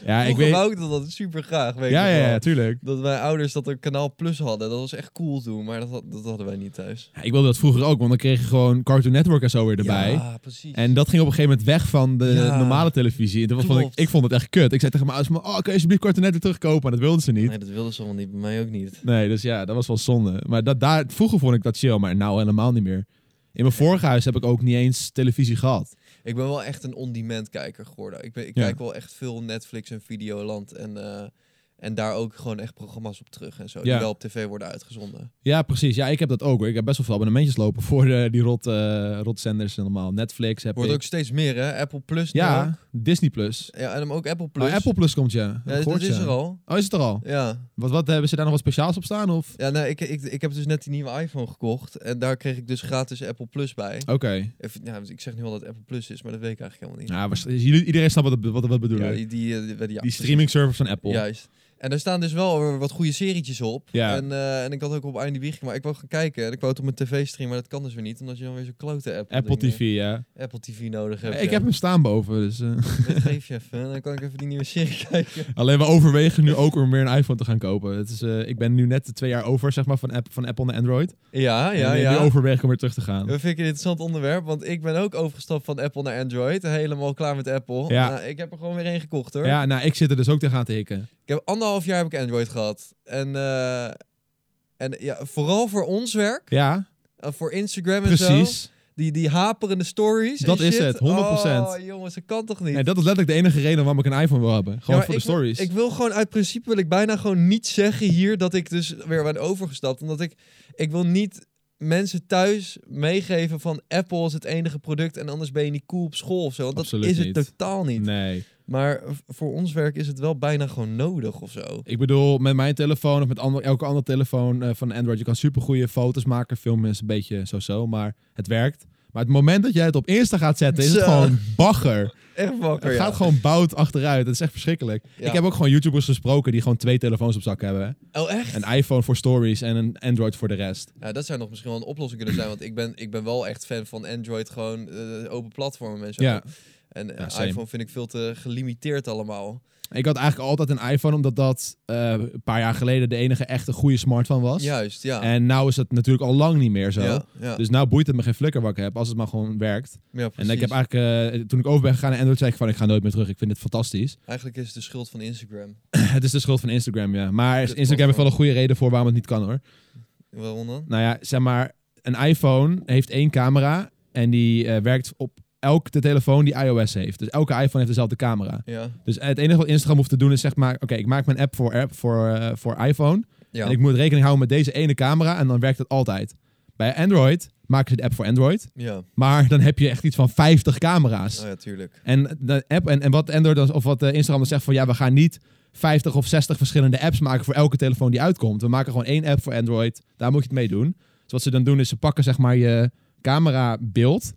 A: ja ik
B: Vroeger
A: weet.
B: wou ik dat altijd super graag. Weet
A: Ja,
B: ik nog
A: ja,
B: wel.
A: ja, tuurlijk.
B: Dat mijn ouders dat er Kanaal Plus hadden. Dat was echt cool toen, maar dat, had- dat hadden wij niet thuis.
A: Ja, ik wilde dat vroeger ook, want dan kreeg je gewoon Cartoon Network en zo weer erbij.
B: Ja, precies.
A: En dat ging op een gegeven moment weg van de
B: Ja.
A: normale televisie. En toen vond ik,
B: Klopt.
A: ik vond het echt kut. Ik zei tegen mijn ouders, van, oh, kun je alsjeblieft Cartoon Network terugkopen? En dat wilden ze niet.
B: Nee, dat wilden ze allemaal niet. Bij mij ook niet.
A: Nee, dus ja, dat was wel zonde. Maar dat, daar, vroeger vond ik dat chill, maar nou helemaal niet meer. In mijn vorige huis heb ik ook niet eens televisie gehad.
B: Ik ben wel echt een on-demand kijker geworden. Ik, ben, ik
A: Ja.
B: kijk wel echt veel Netflix en Videoland en... eh, en daar ook gewoon echt programma's op terug en zo. Die
A: Ja.
B: wel op tv worden uitgezonden.
A: Ja, precies. Ja, ik heb dat ook hoor. Ik heb best wel veel abonnementjes lopen voor eh, die rot, eh, rotzenders en allemaal. Netflix heb
B: Wordt
A: ik.
B: ook steeds meer, hè? Apple Plus. nu ook.
A: Ja, Disney Plus.
B: ja. En dan ook Apple Plus.
A: Maar Apple Plus komt, ja. Heb ik
B: Ja, dus dat
A: gehoord,
B: is
A: ja.
B: er al.
A: Oh, is het er al?
B: Ja,
A: Wat, wat eh, hebben ze daar nog wat speciaals op staan? Of?
B: Ja, nou, ik, ik, ik heb dus net die nieuwe iPhone gekocht. En daar kreeg ik dus gratis Apple Plus bij.
A: Oké.
B: Even, nou, ik zeg nu al dat het Apple Plus is, maar dat weet ik eigenlijk helemaal niet.
A: Ja, waarsch- jullie- iedereen snapt wat, wat, wat bedoelen.
B: Ja,
A: die
B: die, die, eh, die- ja, precies.
A: streaming service van Apple.
B: Juist. En daar staan dus wel weer wat goede serietjes op.
A: Ja.
B: En, eh, en ik had ook op IMDb gekeken, maar ik wou gaan kijken. En ik wou het op mijn tv streamen, maar dat kan dus weer niet. Omdat je dan weer zo'n klote Apple,
A: Apple
B: dingen-
A: TV, ja.
B: Apple TV nodig hebt.
A: Ik
B: ja.
A: heb hem staan boven, dus... eh.
B: Dat geef je even, dan kan ik even die nieuwe serie kijken.
A: Alleen we overwegen nu ook om weer een iPhone te gaan kopen. Het is, eh, ik ben nu net de twee jaar over, zeg maar, van, App- van Apple naar Android.
B: Ja,
A: en,
B: ja,
A: eh,
B: ja.
A: Nu overweeg ik om weer terug te gaan.
B: Dat vind ik een interessant onderwerp, want ik ben ook overgestapt van Apple naar Android. Helemaal klaar met Apple.
A: Ja.
B: Nou, ik heb er gewoon weer één gekocht hoor.
A: Ja, nou, ik zit er dus ook tegenaan te hikken.
B: Ik heb anderhalf jaar heb ik Android gehad. En, eh, en ja, vooral voor ons werk,
A: Ja,
B: eh, voor Instagram en zo.
A: precies.
B: Die, die haperende stories. en
A: Dat is
B: shit.
A: het, 100%.
B: Oh, jongens, dat kan toch niet?
A: En dat is letterlijk de enige reden waarom ik een iPhone wil hebben.
B: Ja,
A: Gewoon
B: maar
A: voor de
B: ik wil-
A: stories.
B: Ik wil gewoon uit principe wil ik bijna gewoon niet zeggen hier dat ik dus weer ben overgestapt. Omdat ik, ik wil niet mensen thuis meegeven van Apple is het enige product en anders ben je niet cool op school of zo. Want dat
A: Absoluut
B: is het
A: niet.
B: totaal niet.
A: Nee.
B: Maar v- voor ons werk is het wel bijna gewoon nodig of zo.
A: Ik bedoel, met mijn telefoon of met ander, elke andere telefoon eh, van Android, je kan supergoeie foto's maken, filmen is een beetje zo-zo, maar het werkt. Maar het moment dat jij het op Insta gaat zetten, is het
B: Zo.
A: gewoon bagger.
B: Echt wakker,
A: Het
B: ja.
A: gaat gewoon bout achteruit. Het is echt verschrikkelijk.
B: Ja.
A: Ik heb ook gewoon YouTubers gesproken die gewoon twee telefoons op zak hebben. Hè?
B: Oh, echt?
A: Een iPhone voor stories en een Android voor de rest.
B: Ja, dat zou nog misschien wel een oplossing kunnen zijn. Want ik ben, ik ben wel echt fan van Android, gewoon eh, open platformen mensen.
A: Ja.
B: En eh,
A: Ja, same.
B: iPhone vind ik veel te gelimiteerd allemaal.
A: Ik had eigenlijk altijd een iPhone, omdat dat eh, een paar jaar geleden de enige echte goede smartphone was.
B: Juist, ja.
A: En nou is het natuurlijk al lang niet meer zo.
B: Ja, ja.
A: Dus nou boeit het me geen flikker wat ik heb, als het maar gewoon werkt.
B: ja
A: En ik
B: precies.
A: heb eigenlijk, eh, toen ik over ben gegaan naar Android, zei ik van ik ga nooit meer terug. Ik vind het fantastisch.
B: Eigenlijk is het de schuld van Instagram.
A: het is de schuld van Instagram, ja. Maar
B: Kut
A: Instagram heeft wel een goede reden voor waarom het niet kan hoor.
B: Waarom dan?
A: Nou ja, zeg maar, een iPhone heeft één camera en die eh, werkt op elke telefoon die iOS heeft. Dus elke iPhone heeft dezelfde camera.
B: Ja.
A: Dus het enige wat Instagram hoeft te doen is zeg maar, oké, ik maak mijn app voor, app voor, eh, voor iPhone.
B: ja.
A: En ik moet rekening houden met deze ene camera en dan werkt het altijd. Bij Android maken ze de app voor Android,
B: ja. Oh
A: maar dan heb je echt iets van 50 camera's.
B: ja, tuurlijk.
A: En de app en, en wat Android dan, of wat eh, Instagram dan zegt van ja, we gaan niet 50 of 60 verschillende apps maken voor elke telefoon die uitkomt. We maken gewoon één app voor Android. Daar moet je het mee doen. Dus wat ze dan doen is ze pakken zeg maar je camera beeld.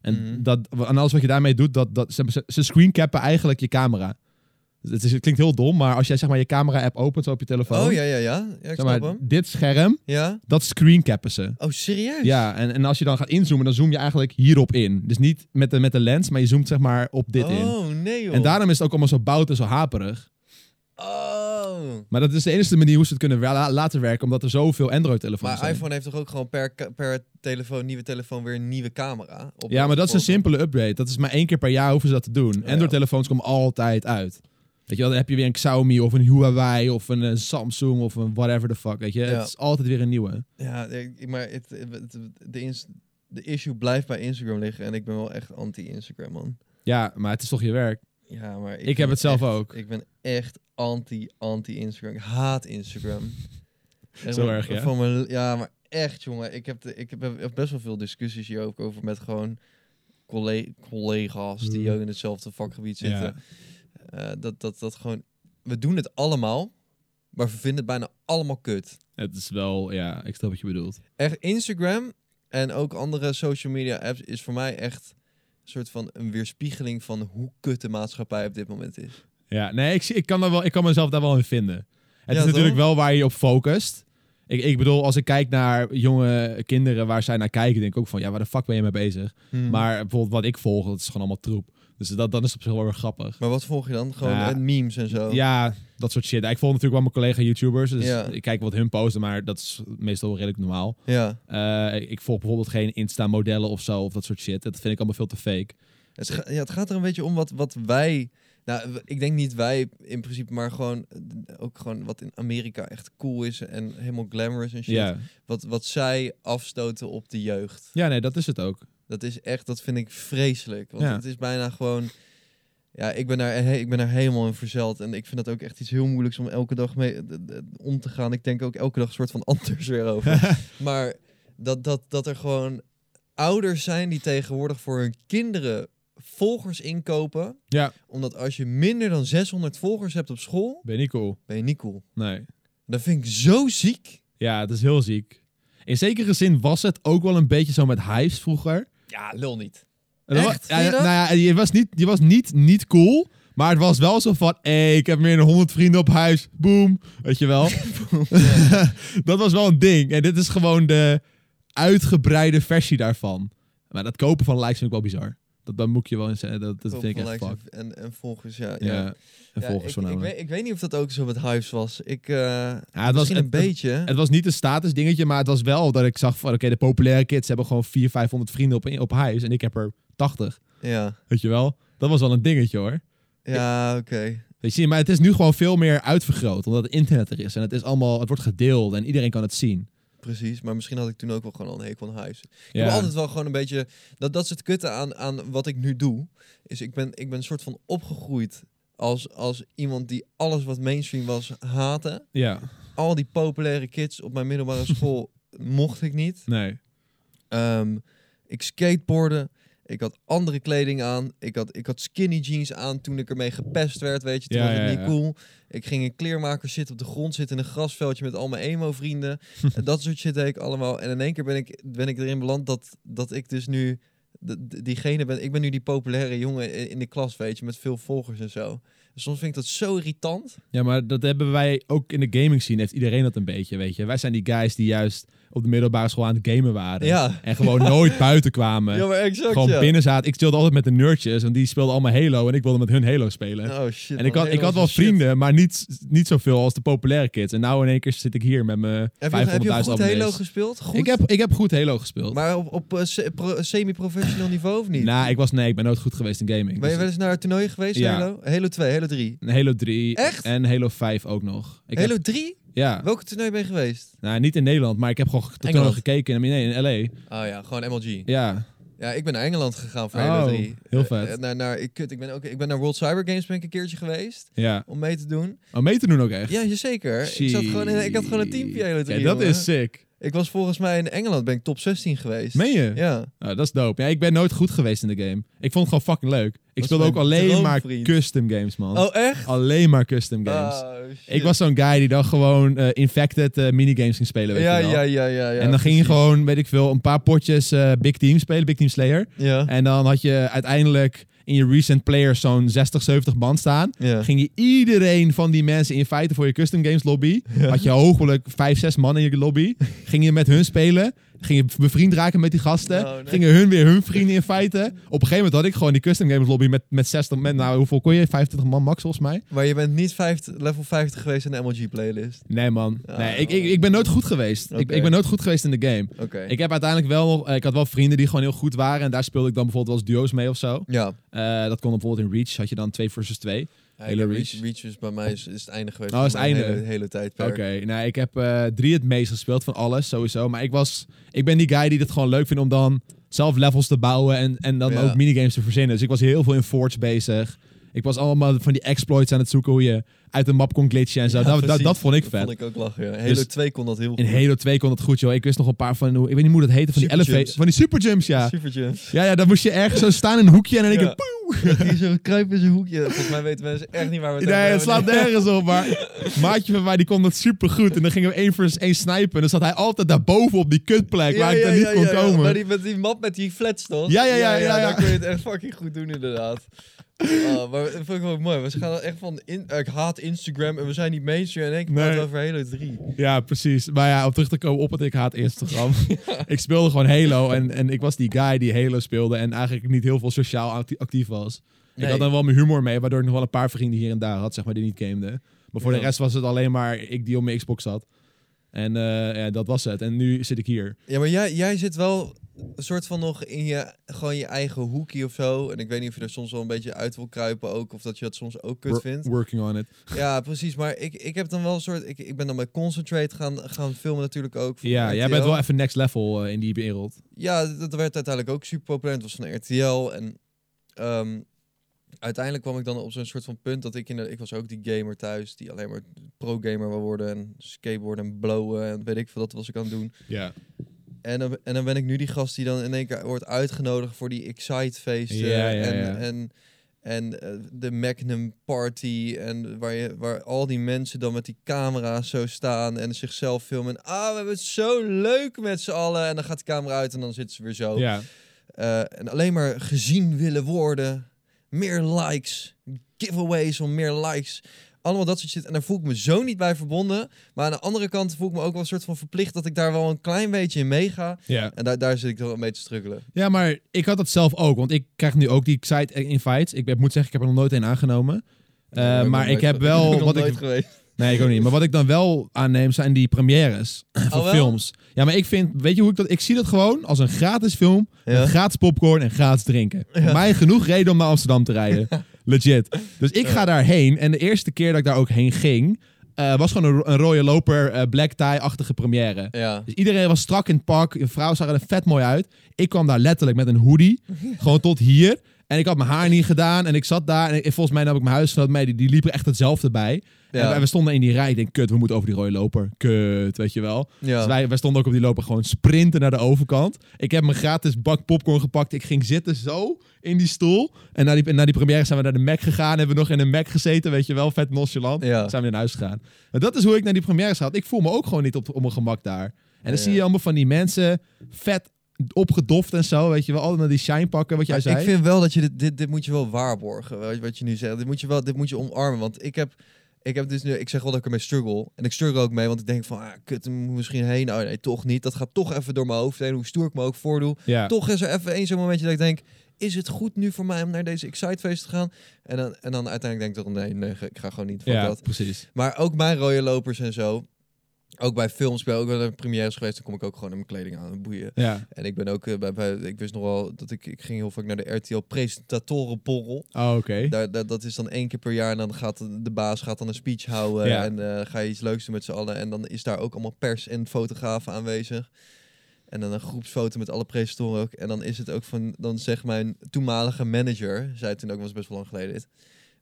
A: En,
B: Mhm.
A: dat, en alles wat je daarmee doet, dat, dat, ze, ze- ze screencappen eigenlijk je camera. Dus Het, is, het klinkt heel dom, maar als jij zeg maar je camera-app opent op je telefoon.
B: Oh ja, ja, ja. ja ik
A: zeg
B: snap
A: maar,
B: hem.
A: dit scherm,
B: Ja.
A: dat screencappen ze.
B: Oh, serieus?
A: Ja, en, en als je dan gaat inzoomen, dan zoom je eigenlijk hierop in. Dus niet met de, met de lens, maar je zoomt zeg maar op dit in.
B: oh, nee joh.
A: En daarom is het ook allemaal zo bout en zo haperig.
B: Oh.
A: Maar dat is de enige manier hoe ze het kunnen wel- laten werken, omdat er zoveel Android-telefoons
B: Maar
A: zijn.
B: iPhone heeft toch ook gewoon per, ka- per telefoon, nieuwe telefoon, weer een nieuwe camera? Op
A: Ja, maar dat is een
B: voorkant.
A: simpele upgrade. Dat is maar één keer per jaar hoeven ze dat te doen.
B: ja.
A: Android-telefoons komen altijd uit. Weet je wel, dan heb je weer een Xiaomi of een Huawei of een eh, Samsung of een whatever the fuck, weet je.
B: Ja.
A: Het is altijd weer een nieuwe.
B: Ja, ik- maar het, het- de, ins- de issue blijft bij Instagram liggen en ik ben wel echt anti-Instagram, man.
A: Ja, maar het is toch je werk.
B: Ja, maar ik,
A: heb
B: ben
A: het zelf
B: echt-
A: ook.
B: Ik ben echt anti, anti-Instagram. Ik haat Instagram. Echt
A: Zo
B: van-
A: erg, ja?
B: Van mijn, ja, maar echt, jongen. Ik heb, de, ik heb heb best wel veel discussies hier ook over met gewoon colle- collega's die
A: Mm.
B: ook in hetzelfde vakgebied zitten.
A: Ja.
B: Eh, dat, dat, dat gewoon... We doen het allemaal, maar we vinden het bijna allemaal kut.
A: Het is wel, ja, ik snap wat je bedoelt.
B: echt Instagram en ook andere social media apps is voor mij echt een soort van een weerspiegeling van hoe kut de maatschappij op dit moment is.
A: Ja, nee, ik, zie- ik, kan, daar wel, ik kan mezelf daar wel in vinden. Het
B: Ja,
A: is natuurlijk
B: toch?
A: wel waar je je op focust. Ik, ik bedoel, als ik kijk naar jonge kinderen waar zij naar kijken, denk ik ook van, ja, waar de fuck ben je mee bezig?
B: Hmm.
A: Maar bijvoorbeeld wat ik volg, dat is gewoon allemaal troep. Dus dat, dat is op zich wel weer grappig.
B: Maar wat volg je dan? Gewoon
A: Ja.
B: eh, memes en zo.
A: Ja, dat soort shit. Ik volg natuurlijk wel mijn collega-YouTubers, dus
B: Ja.
A: ik kijk wat hun posten, maar dat is meestal wel redelijk normaal.
B: Ja.
A: Eh, ik, ik volg bijvoorbeeld geen Insta-modellen of zo, of dat soort shit. Dat vind ik allemaal veel te fake.
B: Het, ga- ja. Het gaat er een beetje om wat, wat wij. Nou, w- ik denk niet wij in principe, maar gewoon eh, ook gewoon wat in Amerika echt cool is en helemaal glamorous en shit.
A: Ja.
B: Wat, wat zij afstoten op de jeugd.
A: ja, nee, dat is het ook.
B: Dat is echt, dat vind ik vreselijk. Want
A: Ja.
B: het is bijna gewoon. Ja, ik ben, daar, he- ik ben daar helemaal in verzeld. En ik vind dat ook echt iets heel moeilijks om elke dag mee d- d- om te gaan. Ik denk ook elke dag een soort van anders weer over. maar dat, dat, dat er gewoon ouders zijn die tegenwoordig voor hun kinderen volgers inkopen.
A: Ja,
B: Omdat als je minder dan 600 volgers hebt op school,
A: ben je niet cool?
B: ben je niet cool.
A: Nee.
B: Dat vind ik zo ziek.
A: Ja, het is heel ziek. In zekere zin was het ook wel een beetje zo met Hives vroeger.
B: Ja, lul niet.
A: En dan wa-
B: Echt?
A: Ja,
B: Vind je dat?
A: nou ja, je was, niet, je was niet, niet cool, maar het was wel zo van... Hey, ik heb meer dan 100 vrienden op huis. Boom. Weet je wel? dat was wel een ding. En dit is gewoon de uitgebreide versie daarvan. Maar dat kopen van likes vind ik wel bizar. Dat, dat moet ik je wel in zeggen. Dat, dat
B: Ook
A: vind ik
B: van
A: echt
B: likes
A: fuck.
B: En, en volgers,
A: Ja,
B: ja. ja.
A: en
B: Ja,
A: volgens
B: ik, ik,
A: voornamelijk.
B: weet, ik weet niet of dat ook zo met Hives was. Ik, eh,
A: Ja, het was
B: misschien een beetje.
A: Het was niet een status dingetje, maar het was wel dat ik zag van... Oké, de populaire kids hebben gewoon 400, 500 vrienden op, op huis. En ik heb er 80.
B: ja,
A: Weet je wel? Dat was wel een dingetje hoor.
B: ja oké.
A: Weet je, maar het is nu gewoon veel meer uitvergroot, omdat het internet er is. En het is allemaal, het wordt gedeeld en iedereen kan het zien.
B: Precies. Maar misschien had ik toen ook wel gewoon al een hekel aan Hives. Ik
A: Ja.
B: heb altijd wel gewoon een beetje... Dat, dat is het kutte aan, aan wat ik nu doe. Is ik ben, ik ben een soort van opgegroeid als, als iemand die alles wat mainstream was haatte.
A: Ja,
B: Al die populaire kids op mijn middelbare school mocht ik niet.
A: nee.
B: Ehm, ik skateboarden. Ik had andere kleding aan. Ik had, ik had skinny jeans aan toen ik ermee gepest werd, weet je. Toen
A: Ja,
B: was het
A: ja,
B: niet
A: ja.
B: cool. Ik ging in kleermaker zitten op de grond, zitten in een grasveldje met al mijn emo-vrienden. En dat soort shit deed ik allemaal. En in één keer ben ik, ben ik erin beland dat, dat ik dus nu de- de- diegene ben, ik ben nu die populaire jongen i- in de klas, weet je, met veel volgers en zo. Dus Soms vind ik dat zo irritant.
A: Ja, maar dat hebben wij ook in de gaming scene. Heeft iedereen dat een beetje, weet je. Wij zijn die guys die juist op de middelbare school aan het gamen waren.
B: Ja.
A: En gewoon nooit buiten kwamen.
B: Ja, maar exact,
A: gewoon
B: ja.
A: binnen zaten. Ik speelde altijd met de nerdjes. En die speelden allemaal Halo. En ik wilde met hun Halo spelen.
B: Oh shit.
A: en ik
B: man,
A: had, ik
B: helemaal
A: had wel
B: zo'n shit.
A: vrienden, maar niet, niet zoveel als de populaire kids. En nou in één keer zit ik hier met mijn 500.000
B: Heb je, heb je goed
A: abonnees.
B: Halo gespeeld? Goed?
A: Ik heb, ik heb goed Halo gespeeld.
B: Maar op, op eh, se- pro- semi-professioneel niveau of niet?
A: Nou, ik was nee, ik ben nooit goed geweest in gaming.
B: ben je
A: Dus
B: wel eens naar het toernooi geweest,
A: Ja.
B: Halo? Halo 2, Halo 3.
A: een Halo 3
B: Echt?
A: en Halo 5 ook nog. Ik
B: Halo
A: heb,
B: 3?
A: ja,
B: Welke toernooi ben je geweest?
A: nou, niet in Nederland, maar ik heb gewoon totaal
B: Engeland.
A: gekeken in, nee, in LA.
B: Oh ja, gewoon MLG.
A: Ja,
B: Ja, ik ben naar Engeland gegaan voor
A: Oh,
B: Halo 3.
A: heel
B: Eh,
A: vet.
B: eh, naar, naar, ik, kut, ik, ben ook, ik ben naar World Cyber Games ben ik een keertje geweest
A: ja.
B: om mee te doen.
A: Oh, mee te doen ook echt.
B: Ja, jazeker. Ik, zat gewoon in, ik had gewoon een teampje Halo 3.
A: Ja, dat
B: jongen.
A: is sick.
B: Ik was volgens mij in Engeland ben ik top 16 geweest.
A: Meen je?
B: Ja.
A: Nou, dat is dope. Ja, ik ben nooit goed geweest in de game. Ik vond het gewoon fucking leuk. Ik
B: is
A: speelde ook
B: mijn
A: alleen maar
B: droomvriend.
A: custom games, man.
B: Oh, echt?
A: Alleen maar custom games.
B: Oh, shit.
A: ik was zo'n guy die dan gewoon eh, infected eh, minigames ging spelen, weet
B: ja,
A: je wel.
B: ja, ja, ja, ja.
A: en dan ging je
B: precies.
A: gewoon, weet ik veel, een paar potjes eh, Big Team spelen, Big Team Slayer.
B: Ja.
A: En dan had je uiteindelijk in je recent players zo'n 60, 70 man staan.
B: Ja.
A: Ging je iedereen van die mensen inviten voor je custom games lobby. Had je hopelijk 5, 6 man in je lobby. Ging je met hun spelen. Ging je bevriend raken met die gasten.
B: Oh, nee.
A: Gingen hun weer hun vrienden inviten. Op een gegeven moment had ik gewoon die custom games lobby met, met 60 man. Nou, hoeveel kon je? 25 man max volgens mij.
B: Maar je bent niet 50, level 50 geweest in de MLG playlist.
A: Nee man, nee,
B: Oh.
A: ik, ik, ik ben nooit goed geweest. Ik,
B: Oké.
A: ik ben nooit goed geweest in de game.
B: Oké.
A: Ik heb uiteindelijk wel, eh, ik had wel vrienden die gewoon heel goed waren. En daar speelde ik dan bijvoorbeeld wel eens duo's mee of zo.
B: Ja.
A: Eh, dat kon dan bijvoorbeeld in Reach, had je dan 2 versus 2. Hele Reach.
B: Reach. Reach is bij mij is, is het einde geweest.
A: Oh, is
B: van
A: het
B: mijn
A: einde.
B: Hele, hele tijdperk.
A: Oké, nou ik heb eh, drie het meest gespeeld van alles sowieso. Maar ik was, ik ben die guy die het gewoon leuk vindt om dan zelf levels te bouwen en, en dan
B: Ja.
A: ook minigames te verzinnen. Dus ik was heel veel in Forge bezig. Ik was allemaal van die exploits aan het zoeken hoe je uit de map kon glitchen en zo.
B: Ja,
A: Dus dat, dat,
B: precies.
A: dat vond ik vet.
B: vond ik ook lachen, ja. Halo
A: Dus-
B: 2 kon dat heel goed.
A: In Halo 2 kon dat goed, joh. Ik wist nog een paar van, hoe- ik weet niet hoe dat heette, van die
B: Superjumps.
A: elevators. Van die superjumps, ja.
B: Super Jumps.
A: Ja, ja, dan moest je ergens zo staan in een hoekje en dan denk
B: Ja.
A: ik, poeh.
B: Die zo kruipen in zijn hoekje. Volgens mij weten mensen echt niet waar we het
A: Nee,
B: over
A: het slaat
B: hebben.
A: nergens op, maar maatje van mij die kon dat supergoed. En dan gingen we één versus één snipen. En dan zat hij altijd daarboven op die kutplek waar ik dan niet kon
B: ja, ja.
A: komen.
B: Maar die, met die map met die flats, toch?
A: Ja, ja, ja, ja, ja.
B: Daar kun je het echt fucking goed doen, inderdaad. Ah, maar dat vond ik wel mooi. We gaan echt van... In, eh, ik haat Instagram en we zijn niet mainstream. En in één keer
A: Nee.
B: praten we over Halo 3.
A: Ja, precies. Maar ja, om terug te komen op het ik haat Instagram. Ik speelde gewoon Halo en, en ik was die guy die Halo speelde en eigenlijk niet heel veel sociaal acti- actief was.
B: Nee.
A: Ik had dan wel mijn humor mee, waardoor ik nog wel een paar vrienden hier en daar had, zeg maar, die niet gameden. Maar voor
B: Ja.
A: de rest was het alleen maar ik die op mijn Xbox zat. En eh, ja, dat was het. En nu zit ik hier.
B: Ja, maar jij, jij zit wel een soort van nog in je, gewoon je eigen hoekje of zo. En ik weet niet of je er soms wel een beetje uit wil kruipen ook. Of dat je dat soms ook kut
A: Wor-
B: vindt.
A: Working on it.
B: Ja, precies. Maar ik, ik heb dan wel een soort... Ik, ik ben dan bij Concentrate gaan, gaan filmen natuurlijk ook. voor
A: Ja, jij
B: RTL.
A: bent wel even next level eh, in die wereld.
B: Ja, d- dat werd uiteindelijk ook super populair. Het was van RTL. En ehm, uiteindelijk kwam ik dan op zo'n soort van punt dat ik in de, Ik was ook die gamer thuis die alleen maar pro-gamer wil worden. En skateboarden en blowen en weet ik veel. Dat was ik aan het doen.
A: Ja.
B: En dan, en dan ben ik nu die gast die dan in één keer wordt uitgenodigd voor die Excite-feesten.
A: Ja, ja,
B: en,
A: ja.
B: en, en eh, de Magnum Party. En waar, je, waar al die mensen dan met die camera's zo staan en zichzelf filmen. En, ah, we hebben het zo leuk met z'n allen. En dan gaat de camera uit en dan zitten ze weer zo.
A: ja.
B: Eh, en alleen maar gezien willen worden. Meer likes. Giveaways om meer likes. Allemaal dat soort shit. En daar voel ik me zo niet bij verbonden. Maar aan de andere kant voel ik me ook wel een soort van verplicht dat ik daar wel een klein beetje in meega.
A: Ja.
B: En daar, daar zit ik dan wel mee te struggelen.
A: ja, maar ik had dat zelf ook, want ik krijg nu ook die site invites. Ik ben- moet zeggen, ik heb er nog nooit een aangenomen. Eh,
B: Daar ben ook
A: maar
B: nog
A: ik
B: nooit
A: heb
B: ge-
A: wel
B: nog
A: wat
B: nooit
A: ik
B: geweest.
A: nee ik ook niet maar wat ik dan wel aanneem zijn die premières van
B: Oh, wel?
A: films ja maar ik vind weet je hoe ik dat ik zie dat gewoon als een gratis film
B: Ja.
A: met gratis popcorn en gratis drinken voor mij genoeg reden om naar Amsterdam te rijden legit dus ik ga daarheen en de eerste keer dat ik daar ook heen ging eh, was gewoon een, ro- een rode loper eh, black tie achtige première
B: Ja.
A: Dus iedereen was strak in het pak. Een vrouw zag er vet mooi uit. Ik kwam daar letterlijk met een hoodie. gewoon tot hier. En ik had mijn haar niet gedaan. En ik zat daar. En ik- volgens mij nam ik mijn huisgenoot mee. Die, die liep er echt hetzelfde bij.
B: Ja.
A: En we stonden in die rij. Ik denk, kut, we moeten over die rode loper. Kut, weet je wel.
B: Ja.
A: Dus wij, wij stonden ook op die loper gewoon sprinten naar de overkant. Ik heb mijn gratis bak popcorn gepakt. Ik ging zitten zo in die stoel. En na die, na die première zijn we naar de Mac gegaan. Hebben we nog in een Mac gezeten, weet je wel. Vet nonchalant.
B: Ja.
A: Zijn we naar huis gegaan. Maar dat is hoe ik naar die première gaat. Ik voel me ook gewoon niet op, op mijn gemak daar. En dan
B: Ja.
A: zie je allemaal van die mensen vet opgedoft en zo, weet je wel. Altijd naar die shine pakken, wat jij
B: Maar
A: zei.
B: Ik vind wel dat je dit, dit, dit moet je wel waarborgen, wat- wat je nu zegt. Dit moet je wel, dit moet je omarmen, want ik heb, ik heb dus nu, ik zeg wel dat ik ermee struggle. En ik struggle ook mee, want ik denk van, ah, kut, er moet misschien heen. Nou nee, toch niet. Dat gaat toch even door mijn hoofd heen, hoe stoer ik me ook voordoe.
A: ja.
B: Toch is er even één zo'n momentje dat ik denk, is het goed nu voor mij om naar deze Excitefeest te gaan? En dan, en dan uiteindelijk denk ik toch, nee, nee, ik ga gewoon niet van
A: ja,
B: dat.
A: precies.
B: Maar ook mijn rode lopers en zo. Ook bij films, bij ook wel een premières geweest, dan kom ik ook gewoon in mijn kleding aan, boeien.
A: Ja.
B: En ik ben ook eh, bij, bij- ik wist nog wel dat ik, ik ging heel vaak naar de RTL presentatorenborrel.
A: Oh, oké.
B: Daar, daar- dat is dan één keer per jaar en dan gaat de- de baas gaat dan een speech houden
A: Ja.
B: en eh, ga je iets leuks doen met z'n allen. En dan is daar ook allemaal pers en fotografen aanwezig. En dan een groepsfoto met alle presentatoren ook. En dan is het ook van, dan zegt mijn toenmalige manager, zei toen ook, was best wel lang geleden dit.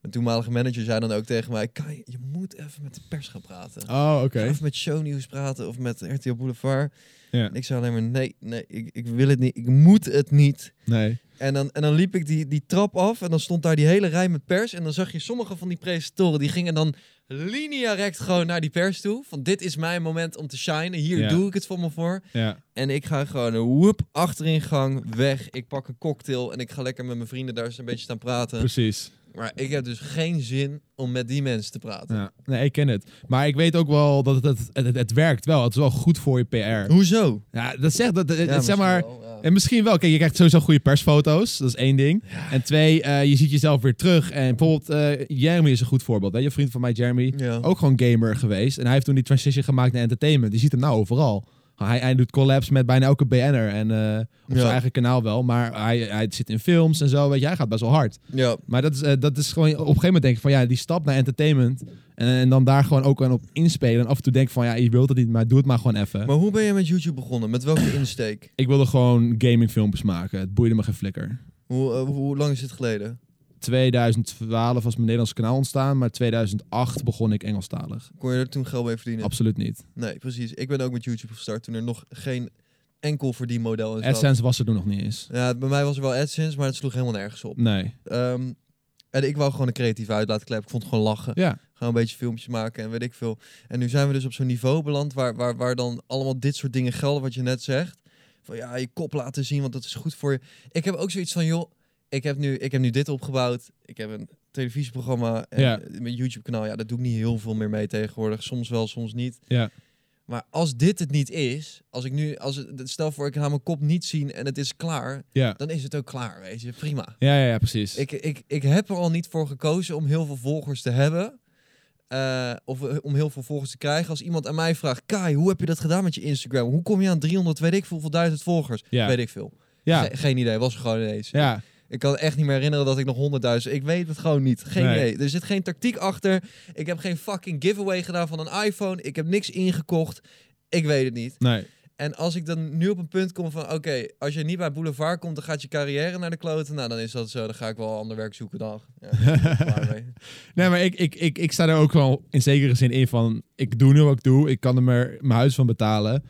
B: Mijn toenmalige manager zei dan ook tegen mij, "Kai, je moet even met de pers gaan praten.
A: Oh, oké.
B: Of met shownieuws praten of met RTL Boulevard.
A: Ja.
B: En ik zei alleen maar, nee, nee, ik, ik wil het niet. Ik moet het niet.
A: Nee.
B: En dan, en dan liep ik die, die trap af en dan stond daar die hele rij met pers. En dan zag je sommige van die presentatoren, die gingen dan linea recht gewoon naar die pers toe. Van dit is mijn moment om te shinen, hier
A: Ja.
B: doe ik het voor me voor.
A: Ja.
B: En ik ga gewoon een woep achterin gang, weg. Ik pak een cocktail en ik ga lekker met mijn vrienden daar eens een beetje staan praten.
A: Precies.
B: Maar ik heb dus geen zin om met die mensen te praten.
A: Ja. Nee, ik ken het. Maar ik weet ook wel dat het, het, het, het werkt wel. Het is wel goed voor je PR.
B: Hoezo?
A: Ja, dat zegt dat, dat-
B: Ja,
A: zeg
B: misschien
A: maar.
B: wel, ja.
A: En misschien wel. Kijk, je krijgt sowieso goede persfoto's. Dat is één ding. En twee, eh, je ziet jezelf weer terug. En bijvoorbeeld, eh, Jeremy is een goed voorbeeld. Hè? Je vriend van mij, Jeremy,
B: Ja.
A: ook gewoon gamer geweest. En hij heeft toen die transition gemaakt naar entertainment. Die ziet hem nou overal. Hij, hij doet collabs met bijna elke BN'er. En eh, op
B: Ja.
A: zijn eigen kanaal wel. Maar hij, hij zit in films en zo. Weet je, hij gaat best wel hard.
B: Ja,
A: Maar dat is, eh, dat is gewoon op een gegeven moment denk ik van ja, die stap naar entertainment. En, en dan daar gewoon ook aan op inspelen. En af en toe denk ik van ja, je wilt het niet, maar doe het maar gewoon even.
B: maar hoe ben je met YouTube begonnen? Met welke insteek?
A: Ik wilde gewoon gamingfilmpjes maken. Het boeide me geen flikker.
B: Hoe, eh, hoe lang is dit geleden?
A: 2012 was mijn Nederlands kanaal ontstaan, maar 2008 begon ik Engelstalig.
B: Kon je er toen geld mee verdienen?
A: Absoluut niet.
B: Nee, precies. Ik ben ook met YouTube gestart toen er nog geen enkel verdienmodel in zat.
A: AdSense was er toen nog niet eens.
B: Ja, bij mij was er wel AdSense, maar het sloeg helemaal nergens op.
A: Nee.
B: Ehm, en ik wou gewoon een creatieve uitlaatklep. Ik vond het gewoon lachen.
A: Ja.
B: Gewoon een beetje filmpjes maken en weet ik veel. En nu zijn we dus op zo'n niveau beland waar, waar, waar dan allemaal dit soort dingen gelden, wat je net zegt. Van ja, je kop laten zien, want dat is goed voor je. Ik heb ook zoiets van, joh, ik heb nu, ik heb nu dit opgebouwd. Ik heb een televisieprogramma en
A: Ja.
B: mijn YouTube-kanaal. Ja, daar doe ik niet heel veel meer mee tegenwoordig. Soms wel, soms niet.
A: Ja.
B: Maar als dit het niet is, als ik nu, als het, stel voor ik ga mijn kop niet zien en het is klaar,
A: Ja.
B: dan is het ook klaar, weet je. Prima.
A: Ja, ja, ja, precies.
B: Ik, ik, ik heb er al niet voor gekozen om heel veel volgers te hebben. Eh, of eh, om heel veel volgers te krijgen. Als iemand aan mij vraagt, Kai, hoe heb je dat gedaan met je Instagram? Hoe kom je aan 300, weet ik veel, hoeveel duizend volgers?
A: Ja.
B: Weet ik veel.
A: ja.
B: Ge- geen idee, was er gewoon ineens.
A: Ja.
B: Ik kan echt niet meer herinneren dat ik nog 100.000... Ik weet het gewoon niet. Geen
A: Nee.
B: idee. Er zit geen tactiek achter. Ik heb geen fucking giveaway gedaan van een iPhone. Ik heb niks ingekocht. Ik weet het niet.
A: Nee.
B: En als ik dan nu op een punt kom van... Oké, als je niet bij Boulevard komt, dan gaat je carrière naar de kloten. Nou, dan is dat zo. Dan ga ik wel ander werk zoeken dan. Ja, klaar mee.
A: Nee, maar ik, ik, ik, ik sta er ook wel in zekere zin in van... Ik doe nu wat ik doe. Ik kan er maar mijn huis van betalen.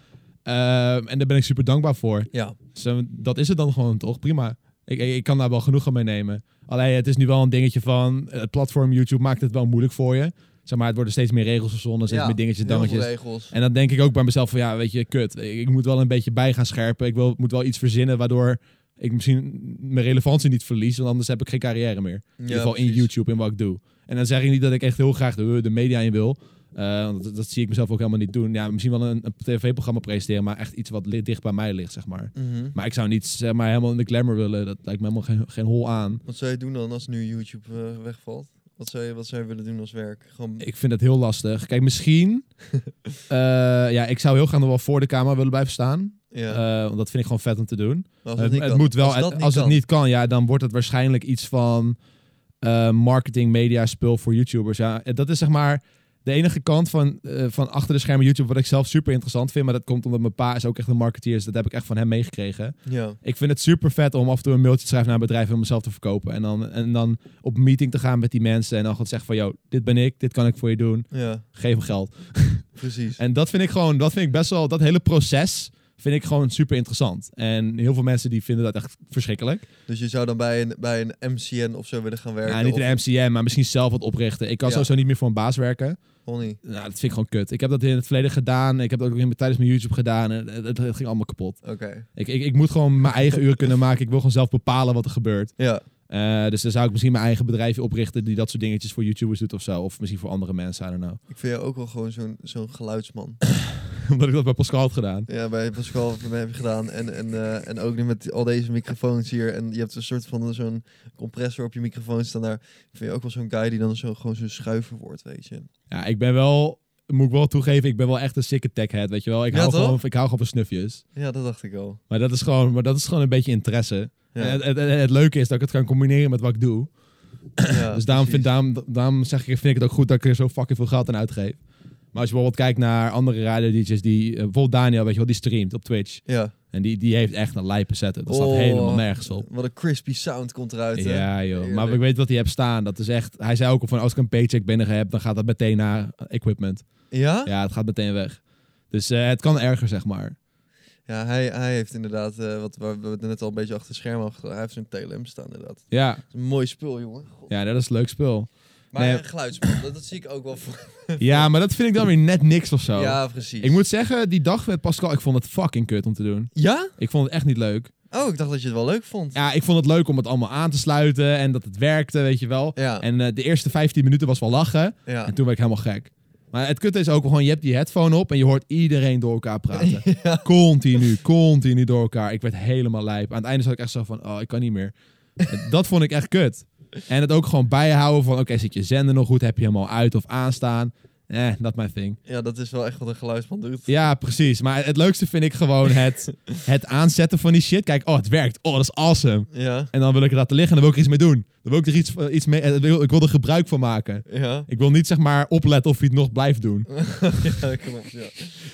A: Ehm, en daar ben ik super dankbaar voor.
B: ja.
A: Zo, dat is het dan gewoon toch? Prima. Ik, ik, ik kan daar wel genoegen mee nemen. Alleen het is nu wel een dingetje van... Het platform YouTube maakt het wel moeilijk voor je. Zeg maar, het worden steeds meer regels verzonnen. Steeds
B: ja.
A: meer dingetjes,
B: heel veel
A: dangetjes.
B: regels.
A: En dan denk ik ook bij mezelf van... Ja, weet je, kut. Ik, ik moet wel een beetje bij gaan scherpen. Ik wil, moet wel iets verzinnen waardoor ik misschien mijn relevantie niet verlies. Want anders heb ik geen carrière meer. In ieder geval in YouTube, in wat ik doe. En dan zeg ik niet dat ik echt heel graag de, de media in wil. Eh, want dat, dat zie ik mezelf ook helemaal niet doen. Ja, misschien wel een, een tv-programma presenteren, maar echt iets wat li- dicht bij mij ligt, zeg maar.
B: Mhm.
A: Maar ik zou niet zeg maar, helemaal in de glamour willen. Dat lijkt me helemaal geen, geen hol aan.
B: Wat zou je doen dan als nu YouTube eh, wegvalt? Wat zou, je, wat zou je willen doen als werk? Gewoon...
A: Ik vind het heel lastig. Kijk, misschien... eh, ja, ik zou heel graag nog wel voor de camera willen blijven staan.
B: ja.
A: Eh, want dat vind ik gewoon vet om te doen.
B: Maar als
A: Het,
B: niet
A: het
B: kan.
A: moet wel...
B: Als
A: Als,
B: dat niet
A: het
B: kan.
A: niet kan, ja, dan wordt het waarschijnlijk iets van... eh, marketing, media, spul voor YouTubers. Ja, dat is zeg maar... De enige kant van, eh, van achter de schermen YouTube, wat ik zelf super interessant vind, maar dat komt omdat mijn pa is ook echt een marketeer, dus dat heb ik echt van hem meegekregen.
B: Ja.
A: Ik vind het super vet om af en toe een mailtje te schrijven naar een bedrijf om mezelf te verkopen. En dan, en dan op een meeting te gaan met die mensen. En dan gewoon zeggen van, yo, dit ben ik, dit kan ik voor je doen.
B: ja,
A: Geef me geld.
B: precies.
A: En dat vind ik gewoon, dat vind ik best wel, dat hele proces vind ik gewoon super interessant. En heel veel mensen die vinden dat echt verschrikkelijk.
B: Dus je zou dan bij een, bij een MCN of zo willen gaan werken?
A: Ja, niet
B: of-
A: in de MCM, maar misschien zelf wat oprichten. Ik kan
B: Ja.
A: sowieso niet meer voor een baas werken.
B: Honey.
A: Nou, dat vind ik gewoon kut. Ik heb dat in het verleden gedaan. Ik heb dat ook in- tijdens mijn YouTube gedaan. En eh, het, het- het ging allemaal kapot.
B: Oké.
A: Ik, ik, ik moet gewoon mijn eigen uren kunnen maken. Ik wil gewoon zelf bepalen wat er gebeurt.
B: Ja.
A: Eh, dus dan zou ik misschien mijn eigen bedrijfje oprichten die dat soort dingetjes voor YouTubers doet of zo. Of misschien voor andere mensen, I don't know.
B: Ik vind jou ook wel gewoon zo'n zo'n geluidsman.
A: Omdat ik dat bij Pascal had gedaan.
B: ja, bij Pascal heb je gedaan. En, en, eh, en ook nu met al deze microfoons hier. En je hebt een soort van zo'n compressor op je microfoon staan daar. Ik vind je ook wel zo'n guy die dan zo, gewoon zo'n schuiver wordt, weet je.
A: Ja, ik ben wel, moet ik wel toegeven, ik ben wel echt een sikke techhead, weet je wel. Ik,
B: Ja,
A: hou
B: toch?
A: gewoon, ik hou gewoon van snufjes.
B: Ja, dat dacht ik al.
A: Maar dat is gewoon, maar dat is gewoon een beetje interesse.
B: Ja.
A: En het, het, het- het leuke is dat ik het kan combineren met wat ik doe.
B: Ja,
A: dus daarom, vind,
B: precies.
A: daarom, daarom zeg ik, vind ik het ook goed dat ik er zo fucking veel geld aan uitgeef. Maar als je bijvoorbeeld kijkt naar andere radio-dj's die... eh, Bijvoorbeeld Daniel, weet je wel, die streamt op Twitch.
B: Ja.
A: En die, die heeft echt een lijpe setup. Dat staat
B: Oh.
A: helemaal nergens op.
B: Wat een crispy sound komt eruit, hè?
A: Ja, joh. Maar
B: Heerlijk.
A: ik weet wat hij hebt staan. Dat is echt... Hij zei ook al van, als ik een paycheck binnen heb, dan gaat dat meteen naar equipment.
B: Ja?
A: Ja, het gaat meteen weg. Dus eh, het kan erger, zeg maar.
B: Ja, hij, hij heeft inderdaad, eh, wat waar we het net al een beetje achter het scherm hadden gedaan, hij heeft zo'n TLM staan inderdaad.
A: Ja,
B: Dat is een mooi spul, jongen. God.
A: ja dat is een leuk spul.
B: Maar
A: Nee.
B: een geluidsman, dat, dat zie ik ook wel voor.
A: Ja, maar dat vind ik dan weer net niks of zo.
B: Ja, precies.
A: Ik moet zeggen, die dag met Pascal, ik vond het fucking kut om te doen.
B: Ja?
A: Ik vond het echt niet leuk.
B: Oh, ik dacht dat je het wel leuk vond.
A: Ja, ik vond het leuk om het allemaal aan te sluiten en dat het werkte, weet je wel.
B: Ja.
A: En eh, de eerste 15 minuten was wel lachen
B: Ja.
A: en toen werd ik helemaal gek. Maar het kutte is ook gewoon, je hebt die headphone op en je hoort iedereen door elkaar praten. Continu, continu door elkaar. Ik werd helemaal lijp. Aan het einde zat ik echt zo van, oh, ik kan niet meer. En dat vond ik echt kut. En het ook gewoon bijhouden van, oké, zit je zender nog goed? Heb je hem al uit of aanstaan? Eh, dat mijn thing.
B: ja, dat is wel echt wat een geluidsman doet.
A: Ja, precies. Maar het leukste vind ik gewoon het, het aanzetten van die shit. Kijk, oh, het werkt. Oh, dat is awesome.
B: Ja.
A: En dan wil ik het laten liggen en dan wil ik er iets mee doen. Dan wil ik er iets, eh, iets mee... eh, Ik wil, ik wil er gebruik van maken.
B: Ja.
A: Ik wil niet, zeg maar, opletten of hij het nog blijft doen.
B: ja, klopt. Ja.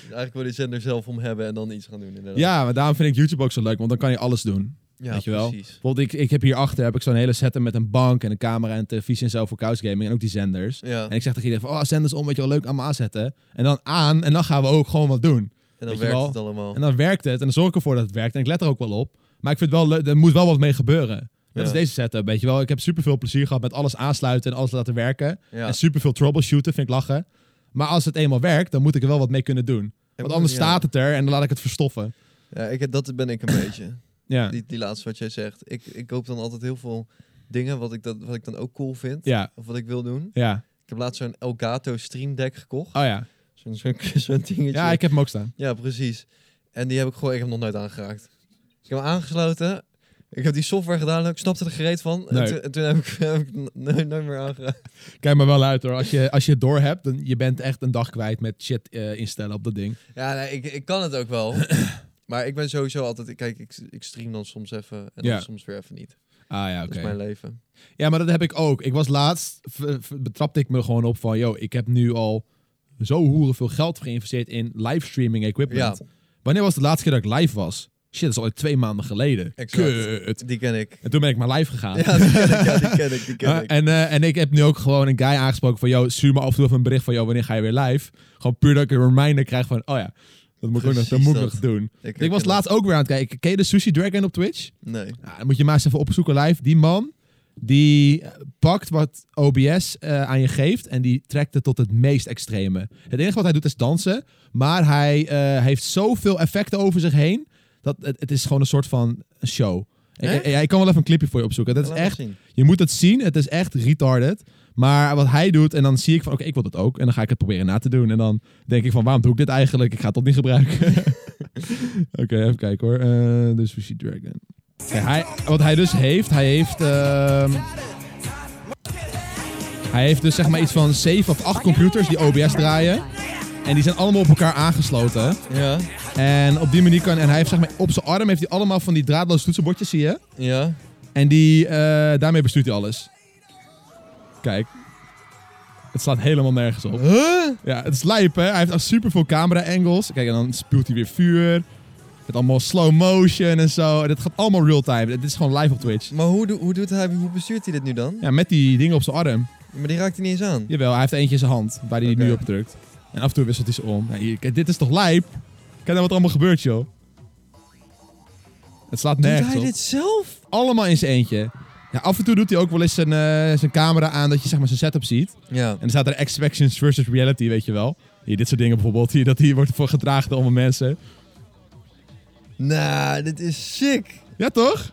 B: Eigenlijk wil je zender zelf om hebben en dan iets gaan doen inderdaad.
A: Ja, maar daarom vind ik YouTube ook zo leuk, want dan kan je alles doen.
B: Ja,
A: weet je wel.
B: precies.
A: Bijvoorbeeld, ik, ik heb hierachter heb ik zo'n hele setup met een bank en een camera en een televisie en zo voor couch gaming en ook die zenders.
B: Ja.
A: En ik zeg tegen iedereen van, oh, zenders om, weet je wel, leuk, allemaal aanzetten. En dan aan en dan gaan we ook gewoon wat doen.
B: En
A: weet
B: dan
A: je
B: werkt
A: wel.
B: het allemaal.
A: En dan werkt het en dan zorg ik ervoor dat het werkt en ik let er ook wel op. Maar ik vind het wel leuk, er moet wel wat mee gebeuren. Dat
B: Ja.
A: is deze setup, weet je wel. Ik heb superveel plezier gehad met alles aansluiten en alles laten werken.
B: Ja.
A: En superveel troubleshooten, vind ik lachen. Maar als het eenmaal werkt, dan moet ik er wel wat mee kunnen doen. Want anders
B: ja.
A: staat het er en dan laat ik het verstoffen.
B: Ja, ik, dat ben ik een beetje.
A: Ja,
B: Die, die laatste wat jij zegt. Ik, ik koop dan altijd heel veel dingen wat ik, dat, wat ik dan ook cool vind.
A: ja,
B: Of wat ik wil doen.
A: ja.
B: Ik heb laatst zo'n Elgato Stream Deck gekocht.
A: Oh ja.
B: Zo'n zo'n zo'n dingetje.
A: Ja, ik heb hem ook staan.
B: Ja, precies. En die heb ik gewoon, ik heb hem nog nooit aangeraakt. Ik heb hem aangesloten. Ik heb die software gedaan en ik snapte er gereed van. En,
A: Nee.
B: toen- en toen heb ik, heb ik het nooit, nooit meer aangeraakt.
A: Kijk maar wel uit hoor. Als je, als je het door hebt, dan je bent echt een dag kwijt met shit eh, instellen op dat ding.
B: Ja, nee, ik, ik kan het ook wel. maar ik ben sowieso altijd, ik- kijk, ik, ik stream dan soms even en dan
A: Ja.
B: soms weer even niet. Dat
A: Ah ja, oké.
B: is mijn leven.
A: Ja, maar dat heb ik ook. Ik was laatst, v- v- betrapte ik me gewoon op van, yo, ik heb nu al zo hoeren veel geld geïnvesteerd in livestreaming equipment.
B: Ja.
A: Wanneer was de laatste keer dat ik live was? Shit, dat is al twee maanden geleden.
B: Exact.
A: Kut.
B: Die ken ik. Ah,
A: En toen ben ik maar live gegaan.
B: Ja, die ken ik, ja, die ken ik, die ken ik.
A: en, eh, en ik heb nu ook gewoon een guy aangesproken van, yo, stuur me af en toe even een bericht van, yo, wanneer ga je weer live? Gewoon puur dat ik een reminder krijg van, oh ja, dat moet ik ook nog, dat
B: Precies
A: moet ik
B: dat.
A: nog doen. Ik,
B: herken
A: was
B: dat.
A: laatst ook weer aan het kijken. Ken je de Sushi Dragon op Twitch?
B: Nee.
A: Nou, dan moet je maar eens even opzoeken live. Die man, die eh, pakt wat OBS eh, aan je geeft en die trekt het tot het meest extreme. Het enige wat hij doet is dansen, maar hij eh, heeft zoveel effecten over zich heen, dat het, het is gewoon een soort van show. Ik,
B: Echt?
A: ja, ik kan wel even een clipje voor je opzoeken. Dat is
B: Laat maar
A: echt,
B: zien.
A: je moet het zien, het is echt retarded. Maar wat hij doet, en dan zie ik van, oké, ik wil dat ook. En dan ga ik het proberen na te doen. En dan denk ik van, waarom doe ik dit eigenlijk? Ik ga het toch niet gebruiken. oké, even kijken hoor. Eh dus Sushi Dragon. Ja, hij, wat hij dus heeft, hij heeft... ehm, hij heeft dus zeg maar iets van 7 of 8 computers die OBS draaien. En die zijn allemaal op elkaar aangesloten.
B: Ja.
A: En op die manier kan... En hij heeft zeg maar op zijn arm heeft hij allemaal van die draadloze toetsenbordjes, zie je?
B: Ja.
A: En die, eh, daarmee bestuurt hij alles. Kijk. Het slaat helemaal nergens op.
B: Huh?
A: Ja, het is lijp, hè? Hij heeft echt superveel camera-angles. Kijk, en dan spuwt hij weer vuur. Met allemaal slow motion en zo. En dat gaat allemaal real-time. Dit is gewoon live op Twitch.
B: Maar hoe, doe- hoe doet hij, hoe bestuurt hij dit nu dan?
A: Ja, met die dingen op zijn arm.
B: Maar die raakt hij niet eens aan.
A: Jawel, hij heeft eentje in zijn hand, waar hij die nu
B: Oké.
A: op drukt. En af en toe wisselt hij ze om. Ja, hier, kijk, dit is toch lijp? Kijk nou wat er allemaal gebeurt, joh. Het slaat
B: Doet
A: nergens
B: hij
A: op.
B: dit zelf?
A: Allemaal in zijn eentje. Ja, af en toe doet hij ook wel eens zijn, eh, zijn camera aan dat je zeg maar zijn setup ziet.
B: Ja.
A: En dan staat er expectations versus reality, weet je wel. Hier, dit soort dingen bijvoorbeeld. Hier, dat hier wordt voor gedragen door allemaal mensen.
B: Nou, dit is sick.
A: Ja, toch?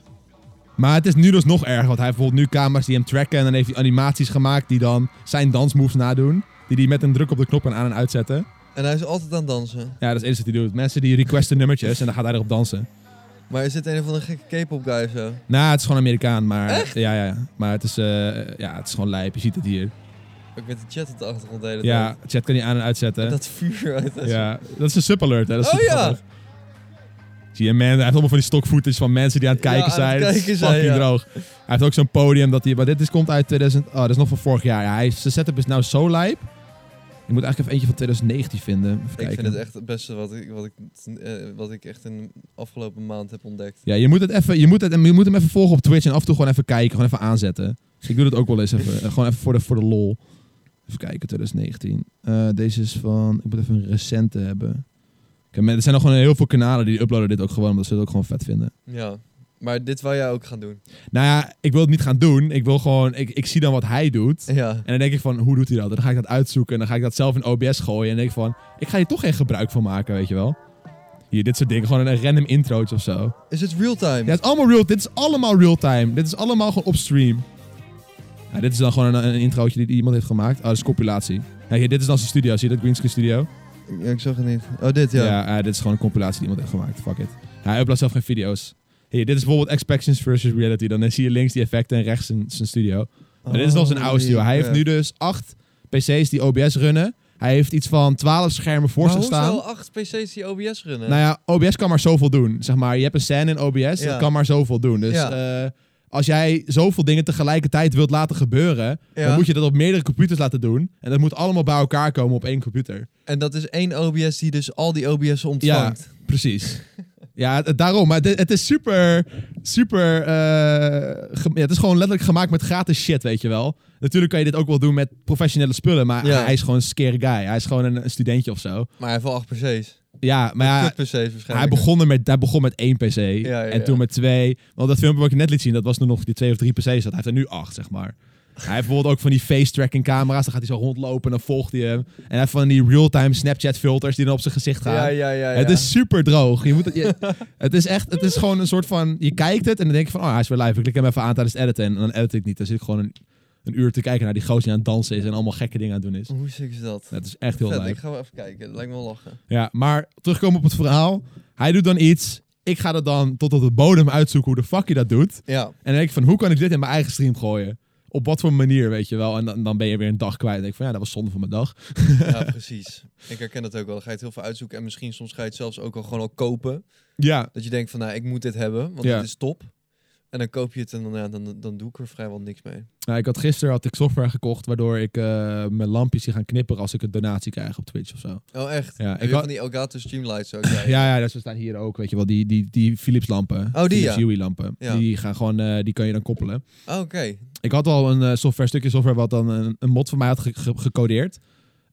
A: Maar het is nu dus nog erger. Want hij heeft bijvoorbeeld nu camera's die hem tracken. En dan heeft hij animaties gemaakt die dan zijn dansmoves nadoen. Die hij met een druk op de knop kan aan en uitzetten.
B: En hij is altijd aan het dansen.
A: Ja, dat is het eerste wat hij doet. Mensen die requesten nummertjes en dan gaat hij erop dansen.
B: Maar is dit een of andere gekke K-pop guy of zo?
A: Nou, het is gewoon Amerikaan, maar... Ja, ja, ja. Maar het is, eh, ja, het is gewoon lijp. Je ziet het hier.
B: Ook met de chat op de achtergrond de hele
A: Ja, chat kan hij aan en uitzetten.
B: tijd. Dat vuur uit. dat-
A: Ja, dat is een sub-alert. Hè? Dat is
B: Oh
A: super
B: ja.
A: grappig. Zie je, man, hij heeft allemaal van die stockfootage van mensen die aan het
B: Ja,
A: kijken
B: aan het
A: zijn. Dat is
B: kijken zijn,
A: fucking
B: ja.
A: droog. Hij heeft ook zo'n podium dat hij... Maar dit is, komt uit 2000... Oh, dat is nog van vorig jaar. Ja, hij, is- zijn setup is nou zo lijp. Ik moet eigenlijk even eentje van 2019 vinden. Even
B: Ik
A: kijken.
B: vind het echt het beste wat ik, wat ik, eh, wat ik echt in de afgelopen maand heb ontdekt.
A: Ja, je moet, het even, je, moet het, je moet hem even volgen op Twitch en af en toe gewoon even kijken. Gewoon even aanzetten. Dus Ik doe dat ook wel eens even. eh, gewoon even voor de, voor de lol. Even kijken, 2019. Eh, deze is van... Ik moet even een recente hebben. Kijk, maar er zijn nog gewoon heel veel kanalen die uploaden dit ook gewoon. Omdat ze het ook gewoon vet vinden.
B: Ja. Maar dit wou jij ook gaan doen.
A: Nou ja, ik wil het niet gaan doen. Ik wil gewoon, ik, ik zie dan wat hij doet.
B: Ja.
A: En dan denk ik van, hoe doet hij dat? En dan ga ik dat uitzoeken. En dan ga ik dat zelf in OBS gooien. En denk ik van, ik ga hier toch geen gebruik van maken, weet je wel. Hier, dit soort dingen. Gewoon een random introotje of zo.
B: Is het real time?
A: Ja, het is allemaal real, dit is allemaal real-time. Dit is allemaal gewoon op stream. Ja, dit is dan gewoon een, een introotje die iemand heeft gemaakt. Oh, dat is compilatie. Ja, hier, dit is dan zijn studio. Zie je dat? Greenscreen Studio.
B: Ja, ik zag het niet. Oh, dit ja.
A: Ja, eh, dit is gewoon een compilatie die iemand heeft gemaakt. Fuck it. Hij uploadt zelf geen video's. Hier, dit is bijvoorbeeld Expectations versus Reality. Dan eh, zie je links die effecten en rechts zijn, zijn studio. Maar dit is nog zijn
B: Oh,
A: oude studio. Hij
B: ja.
A: heeft nu dus acht PC's die OBS runnen. Hij heeft iets van 12 schermen voor
B: Maar
A: zich
B: hoezo
A: staan.
B: acht PC's die OBS runnen?
A: Nou ja, OBS kan maar zoveel doen. Zeg maar, je hebt een scène in OBS,
B: Ja.
A: dat kan maar zoveel doen. Dus
B: Ja.
A: eh, als jij zoveel dingen tegelijkertijd wilt laten gebeuren,
B: Ja.
A: dan moet je dat op meerdere computers laten doen. En dat moet allemaal bij elkaar komen op één computer.
B: En dat is één OBS die dus al die OBS'en
A: Ja,
B: ontvangt.
A: precies. ja, het- het- daarom. Maar het, het is super, super... eh, ge- ja, het is gewoon letterlijk gemaakt met gratis shit, weet je wel. Natuurlijk kan je dit ook wel doen met professionele spullen, maar
B: Ja.
A: hij is gewoon een scary guy. Hij is gewoon een, een studentje of zo.
B: Maar hij heeft wel acht PC's.
A: Ja, maar ja,
B: Kut PC's waarschijnlijk.
A: hij begon, er met, hij begon met één PC
B: ja,
A: en
B: ja.
A: toen met twee. Want dat filmpje wat ik net liet zien, dat was toen nog die twee of drie PC's. Dat hij heeft er nu acht, zeg maar. Hij heeft bijvoorbeeld ook van die face tracking camera's. Dan gaat hij zo rondlopen en dan volgt hij hem. En hij heeft van die real-time Snapchat filters die dan op zijn gezicht gaan.
B: Ja, ja, ja.
A: Het
B: ja.
A: is super droog. Je moet het, je- het is echt, het is gewoon een soort van, je kijkt het en dan denk je van, oh hij is weer live. Ik klik hem even aan tijdens het editen en dan edit ik niet. Dan zit ik gewoon een, een uur te kijken naar die gozer die aan het dansen is en allemaal gekke dingen aan het doen is.
B: Hoe sick is dat?
A: Ja, Het is echt heel
B: Vet,
A: leuk.
B: ik ga wel even kijken. Dat lijkt me wel lachen.
A: Ja, maar terugkomen op het verhaal. Hij doet dan iets. Ik ga dat dan tot op de bodem uitzoeken hoe de fuck je dat doet.
B: Ja.
A: En dan denk ik van, hoe kan ik dit in mijn eigen stream gooien? Op wat voor manier, weet je wel? En dan, dan ben je weer een dag kwijt. Dan denk ik van, ja, dat was zonde van mijn dag.
B: Ja, precies. Ik herken dat ook wel. Dan ga je het heel veel uitzoeken. En misschien soms ga je het zelfs ook al gewoon al kopen.
A: Ja,
B: Dat je denkt van, nou, ik moet dit hebben. Want
A: Ja.
B: dit is top. En dan koop je het en dan, ja, dan, dan doe ik er vrijwel niks mee.
A: nou, ik had gisteren had ik software gekocht... waardoor ik eh, mijn lampjes die gaan knipperen als ik een donatie krijg op Twitch of zo.
B: Oh, echt?
A: Ja, ik
B: Heb je
A: had-
B: van die Elgato Streamlights ook? Ja.
A: Ja, ja, dus we staan hier ook, weet je wel. Die, die, die Philips lampen.
B: Oh, die,
A: Philips
B: ja.
A: Hue lampen.
B: Ja.
A: Die, gaan gewoon, eh, die kan je dan koppelen.
B: Oh, Oké.
A: Ik had al een eh, software, stukje software wat dan een, een mod van mij had ge- ge- gecodeerd.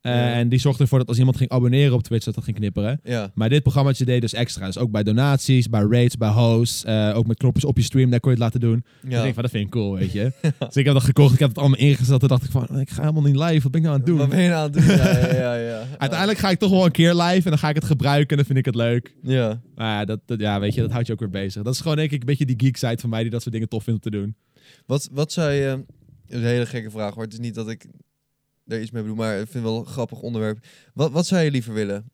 A: Eh,
B: Ja.
A: En die zorgde ervoor dat als iemand ging abonneren op Twitch, dat dat ging knipperen.
B: Ja.
A: Maar dit programmaatje deed dus extra. Dus ook bij donaties, bij raids, bij hosts. eh, ook met knopjes op je stream, daar kon je het laten doen. Dus ik
B: ja.
A: denk van, dat vind ik cool, weet je. dus ik heb dat gekocht, ik heb het allemaal ingezet. Toen dacht ik van, ik ga helemaal niet live, wat ben ik nou aan het doen?
B: Wat ben je nou aan het doen? Ja, ja, ja. ja.
A: Uiteindelijk ga ik toch wel een keer live en dan ga ik het gebruiken en dan vind ik het leuk.
B: Ja.
A: Maar ja, dat, dat- ja, weet je, dat houdt je ook weer bezig. Dat is gewoon denk ik een beetje die geek side van mij die dat soort dingen tof vindt om te doen.
B: Wat, wat zou je... Dat is een hele gekke vraag hoor. Het is niet dat ik er iets mee bedoel, maar ik vind het wel een grappig onderwerp. Wat, wat zou je liever willen?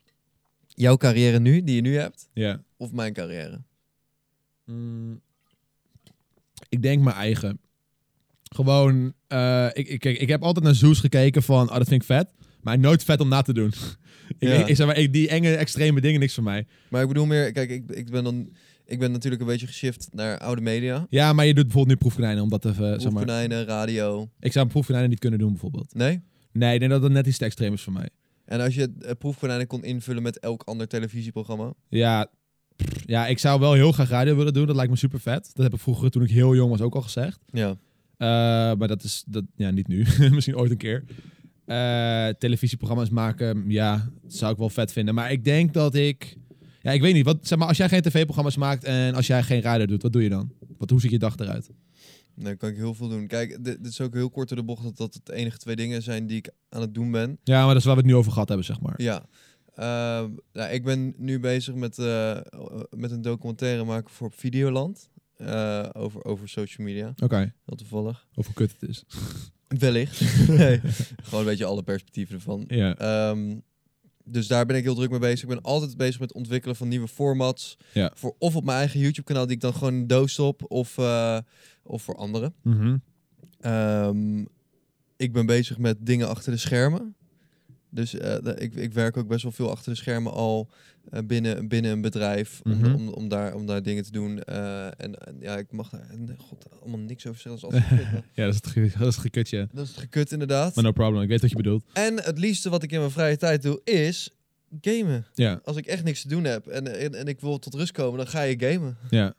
B: Jouw carrière nu, die je nu hebt,
A: Ja.
B: of mijn carrière?
A: Mm, ik denk mijn eigen. Gewoon, eh, ik, ik, kijk, ik heb altijd naar zoes gekeken van, oh, dat vind ik vet. Maar nooit vet om na te doen. ik,
B: Ja.
A: ik zeg maar, ik- die enge, extreme dingen, niks voor mij.
B: Maar ik bedoel meer, kijk, ik, ik ben dan... Ik ben natuurlijk een beetje geshift naar oude media.
A: Ja, maar je doet bijvoorbeeld nu proefkonijnen, omdat even, zeg maar...
B: Proefkonijnen, radio.
A: Ik zou proefkonijnen niet kunnen doen, bijvoorbeeld.
B: Nee?
A: Nee, ik denk dat dat net iets te extreem is voor mij.
B: En als je eh, proefkonijnen kon invullen met elk ander televisieprogramma.
A: Ja, pff, ja, ik zou wel heel graag radio willen doen, dat lijkt me super vet. Dat heb ik vroeger, toen ik heel jong was, ook al gezegd.
B: Ja.
A: Eh, maar dat is dat, ja, niet nu. Misschien ooit een keer. Eh, televisieprogramma's maken, ja, zou ik wel vet vinden. Maar ik denk dat ik. Ja, ik weet niet. Wat, zeg maar, als jij geen tv-programma's maakt en als jij geen radio doet, wat doe je dan? Wat, hoe ziet je dag eruit?
B: Dan kan ik heel veel doen. Kijk, dit, dit is ook heel kort door de bocht dat dat het enige twee dingen zijn die ik aan het doen ben.
A: Ja, maar dat is waar we het nu over gehad hebben, zeg maar.
B: Ja. Ehm, nou, ik ben nu bezig met, eh, met een documentaire maken voor op Videoland. eh, over, over social media,
A: Oké,
B: heel toevallig.
A: of hoe kut het is.
B: Wellicht. nee, gewoon een beetje alle perspectieven ervan.
A: Ja,
B: Ehm, dus daar ben ik heel druk mee bezig. Ik ben altijd bezig met het ontwikkelen van nieuwe formats.
A: Ja.
B: Voor, of op mijn eigen YouTube-kanaal, die ik dan gewoon in de doos op. Of, eh, of voor anderen.
A: Mhm.
B: Ehm, ik ben bezig met dingen achter de schermen. Dus eh, da- ik, ik werk ook best wel veel achter de schermen al eh, binnen, binnen een bedrijf. Om,
A: Mhm.
B: om, om, daar, om daar dingen te doen. Eh, en, en ja, ik mag daar en, god, allemaal niks over zeggen. Dat is, altijd gekut, maar
A: ja dat is het ge- dat is het gekutje.
B: dat is het gekut inderdaad.
A: Maar no problem, ik weet wat je bedoelt.
B: En het liefste wat ik in mijn vrije tijd doe is gamen.
A: Ja,
B: Als ik echt niks te doen heb en, en, en ik wil tot rust komen, dan ga je gamen.
A: ja.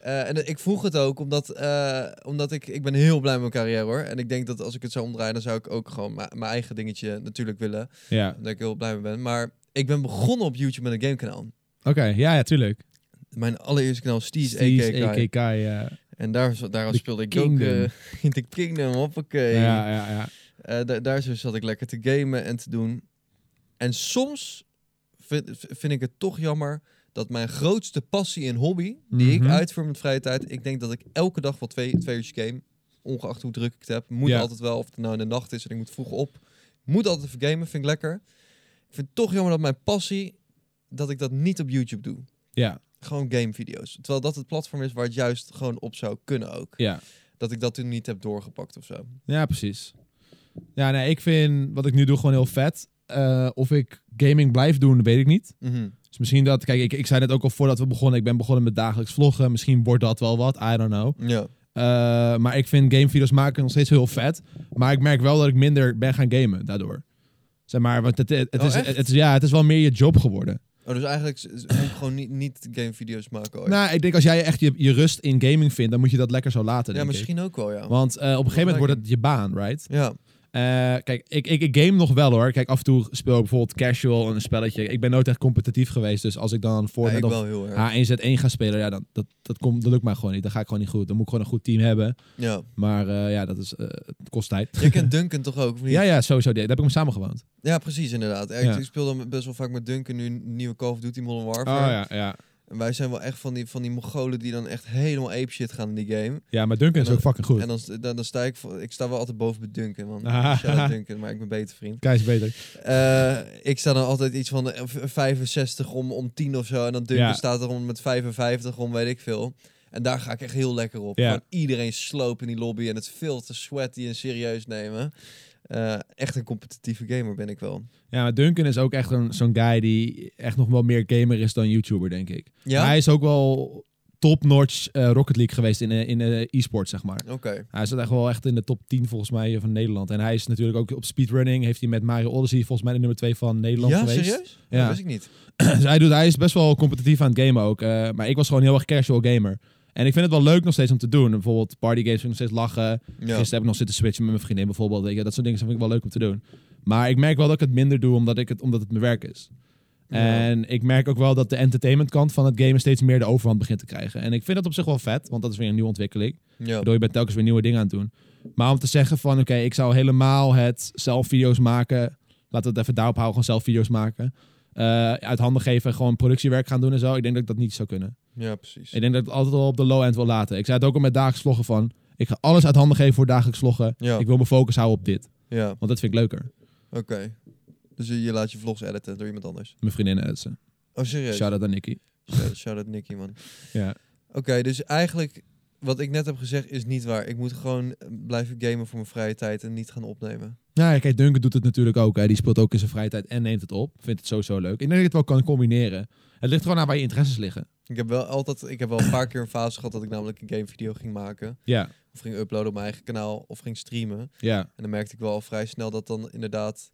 B: Eh, en ik vroeg het ook omdat, eh, omdat ik, ik ben heel blij met mijn carrière hoor. En ik denk dat als ik het zou omdraaien, dan zou ik ook gewoon mijn mijn eigen dingetje natuurlijk willen.
A: Ja,
B: Daar ik heel blij mee ben. Maar ik ben begonnen op YouTube met een gamekanaal.
A: oké. Ja, ja, tuurlijk.
B: Mijn allereerste kanaal is Steez
A: Steez,
B: AKK.
A: AKK, ja.
B: En daar, daar
A: The
B: speelde ik
A: Kingdom.
B: ook eh, in de Kingdom, hoppakee.
A: Ja, ja, ja.
B: Eh, da- daar zo zat ik lekker te gamen en te doen. En soms vind, vind ik het toch jammer dat mijn grootste passie en hobby, die
A: Mhm.
B: ik uitvoer met vrije tijd, ik denk dat ik elke dag wel twee, twee uurtjes game, ongeacht hoe druk ik het heb, moet
A: Ja.
B: altijd wel, of het nou in de nacht is en ik moet vroeg op, moet altijd even gamen, vind ik lekker. Ik vind het toch jammer dat mijn passie, dat ik dat niet op YouTube doe.
A: Ja,
B: Gewoon gamevideo's. Terwijl dat het platform is waar het juist gewoon op zou kunnen ook.
A: ja.
B: Dat ik dat toen niet heb doorgepakt of zo.
A: Ja, precies. Ja, nee, ik vind wat ik nu doe gewoon heel vet. Eh, of ik gaming blijf doen, weet ik niet.
B: Mhm.
A: Dus misschien dat, kijk, ik, ik zei net ook al voordat we begonnen, ik ben begonnen met dagelijks vloggen. Misschien wordt dat wel wat, I don't know.
B: Ja.
A: Eh, maar ik vind gamevideo's maken nog steeds heel vet. Maar ik merk wel dat ik minder ben gaan gamen daardoor. Zeg maar, want het, het, het
B: Oh,
A: is,
B: echt?
A: het, is, ja, het is wel meer je job geworden.
B: Oh, dus eigenlijk s- s- moet ik gewoon niet, niet gamevideo's maken ooit.
A: Nou, ik denk als jij echt je, je rust in gaming vindt, dan moet je dat lekker zo laten.
B: ja,
A: denk ik.
B: misschien ook wel, ja.
A: Want eh, op een gegeven moment wordt het je baan, right?
B: Ja,
A: Eh, kijk, ik, ik, ik game nog wel hoor. Kijk, af en toe speel ik bijvoorbeeld casual een spelletje. Ik ben nooit echt competitief geweest. Dus als ik dan
B: ja,
A: Fortnite
B: ik
A: of Ah.
B: wel heel erg.
A: H1Z1 ga spelen, ja, dan, dat, dat, komt, dat lukt mij gewoon niet. Dan ga ik gewoon niet goed. Dan moet ik gewoon een goed team hebben.
B: Ja.
A: Maar eh, ja, dat is, eh, het kost tijd.
B: Je kent Duncan toch ook? Of niet?
A: Ja, ja, sowieso. Daar heb ik hem samen gewoond.
B: Ja, precies, inderdaad. Ik,
A: Ja.
B: ik speel dan best wel vaak met Duncan nu een nieuwe Call of Duty Modern
A: Oh
B: Warfare.
A: ja, ja.
B: En wij zijn wel echt van die, van die Mongolen die dan echt helemaal ape shit gaan in die game.
A: Ja, maar Duncan is
B: En
A: ook fucking goed.
B: En dan, st- dan, dan sta ik, voor- ik sta wel altijd boven bij Duncan, want
A: Ah.
B: shout-out Duncan, maar ik ben beter vriend.
A: Kijk is beter.
B: Eh, ik sta dan altijd iets van de v- 65 om, om 10 of zo. En dan Duncan
A: Ja.
B: staat er om met 55 om, weet ik veel. En daar ga ik echt heel lekker op.
A: Ja.
B: Gewoon iedereen slopen in die lobby en het veel te sweaty en serieus nemen. Eh, echt een competitieve gamer ben ik wel.
A: Ja, maar Duncan is ook echt een- zo'n guy die echt nog wel meer gamer is dan YouTuber, denk ik.
B: Ja?
A: Hij is ook wel top-notch eh, Rocket League geweest in, eh, in eh, e-sport, zeg maar.
B: Oké.
A: Hij zat echt wel echt in de top 10 volgens mij van Nederland. En hij is natuurlijk ook op speedrunning. Heeft hij met Mario Odyssey volgens mij de nummer 2 van Nederland
B: Ja,
A: geweest.
B: serieus?
A: Ja.
B: Dat wist ik niet.
A: Dus hij, doet, hij is best wel competitief aan het gamen ook. eh, maar ik was gewoon heel erg casual gamer. En ik vind het wel leuk nog steeds om te doen. Bijvoorbeeld partygames vind ik nog steeds lachen.
B: Ja.
A: Gisteren heb ik nog zitten switchen met mijn vriendin bijvoorbeeld. Weet je, dat soort dingen vind ik wel leuk om te doen. Maar ik merk wel dat ik het minder doe omdat, ik het, omdat het mijn werk is.
B: Ja.
A: En ik merk ook wel dat de entertainment kant van het gamen steeds meer de overhand begint te krijgen. En ik vind dat op zich wel vet, want dat is weer een nieuwe ontwikkeling.
B: Ja.
A: Waardoor Oh. je bent telkens weer nieuwe dingen aan het doen. Maar om te zeggen van, oké, ik zou helemaal het zelf video's maken. Laten we het even daarop houden, gewoon zelf video's maken. Eh, uit handen geven, gewoon productiewerk gaan doen en zo. Ik denk dat ik dat niet zou kunnen.
B: ja, precies.
A: Ik denk dat ik het altijd wel op de low end wil laten. Ik zei het ook al met dagelijks vloggen van, ik ga alles uit handen geven voor dagelijks vloggen.
B: Ja,
A: Ik wil mijn focus houden op dit,
B: ja.
A: want dat vind ik leuker.
B: oké. Dus je je laat je vlogs editen door iemand anders.
A: Mijn vriendin Edson.
B: Oh, serieus?
A: Shout-out aan Nicky.
B: Shout- Shout-out Nicky, man.
A: Ja.
B: Oké, dus eigenlijk wat ik net heb gezegd is niet waar. Ik moet gewoon eh, blijven gamen voor mijn vrije tijd en niet gaan opnemen.
A: Nou ja, kijk, Duncan doet het natuurlijk ook. Hè. Die speelt ook in zijn vrije tijd en neemt het op. Vindt het sowieso leuk. Ik denk dat je het wel kan combineren. Het ligt gewoon aan waar je interesses liggen.
B: Ik heb wel altijd, ik heb wel een paar keer een fase gehad dat ik namelijk een gamevideo ging maken.
A: Ja,
B: Of ging uploaden op mijn eigen kanaal of ging streamen.
A: ja.
B: En dan merkte ik wel al vrij snel dat dan inderdaad,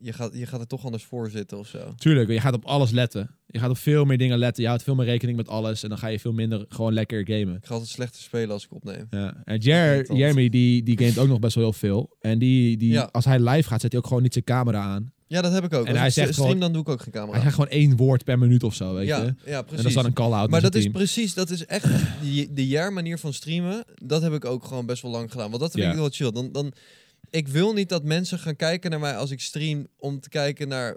B: je gaat, je gaat er toch anders voor zitten of zo.
A: Tuurlijk, je gaat op alles letten. Je gaat op veel meer dingen letten. Je houdt veel meer rekening met alles. En dan ga je veel minder gewoon lekker gamen.
B: Ik ga altijd slechter spelen als ik opneem.
A: Ja. En Jer,
B: Irritant.
A: Jeremy, die, die gamet ook nog best wel heel veel. En die, die,
B: Ja.
A: als hij live gaat, zet hij ook gewoon niet zijn camera aan.
B: Ja, dat heb ik ook.
A: En
B: Als
A: hij
B: ik
A: zegt
B: stream,
A: gewoon-
B: dan doe ik ook geen camera.
A: Hij gaat gewoon één woord per minuut of zo, weet je.
B: ja, ja, precies.
A: en dat is dan een call-out
B: Maar
A: naar
B: dat
A: zijn
B: is
A: team.
B: precies, dat is echt die- de jaarmanier van streamen. Dat heb ik ook gewoon best wel lang gedaan. Want dat vind
A: Ja.
B: ik wel chill. Dan, dan, ik wil niet dat mensen gaan kijken naar mij als ik stream om te kijken naar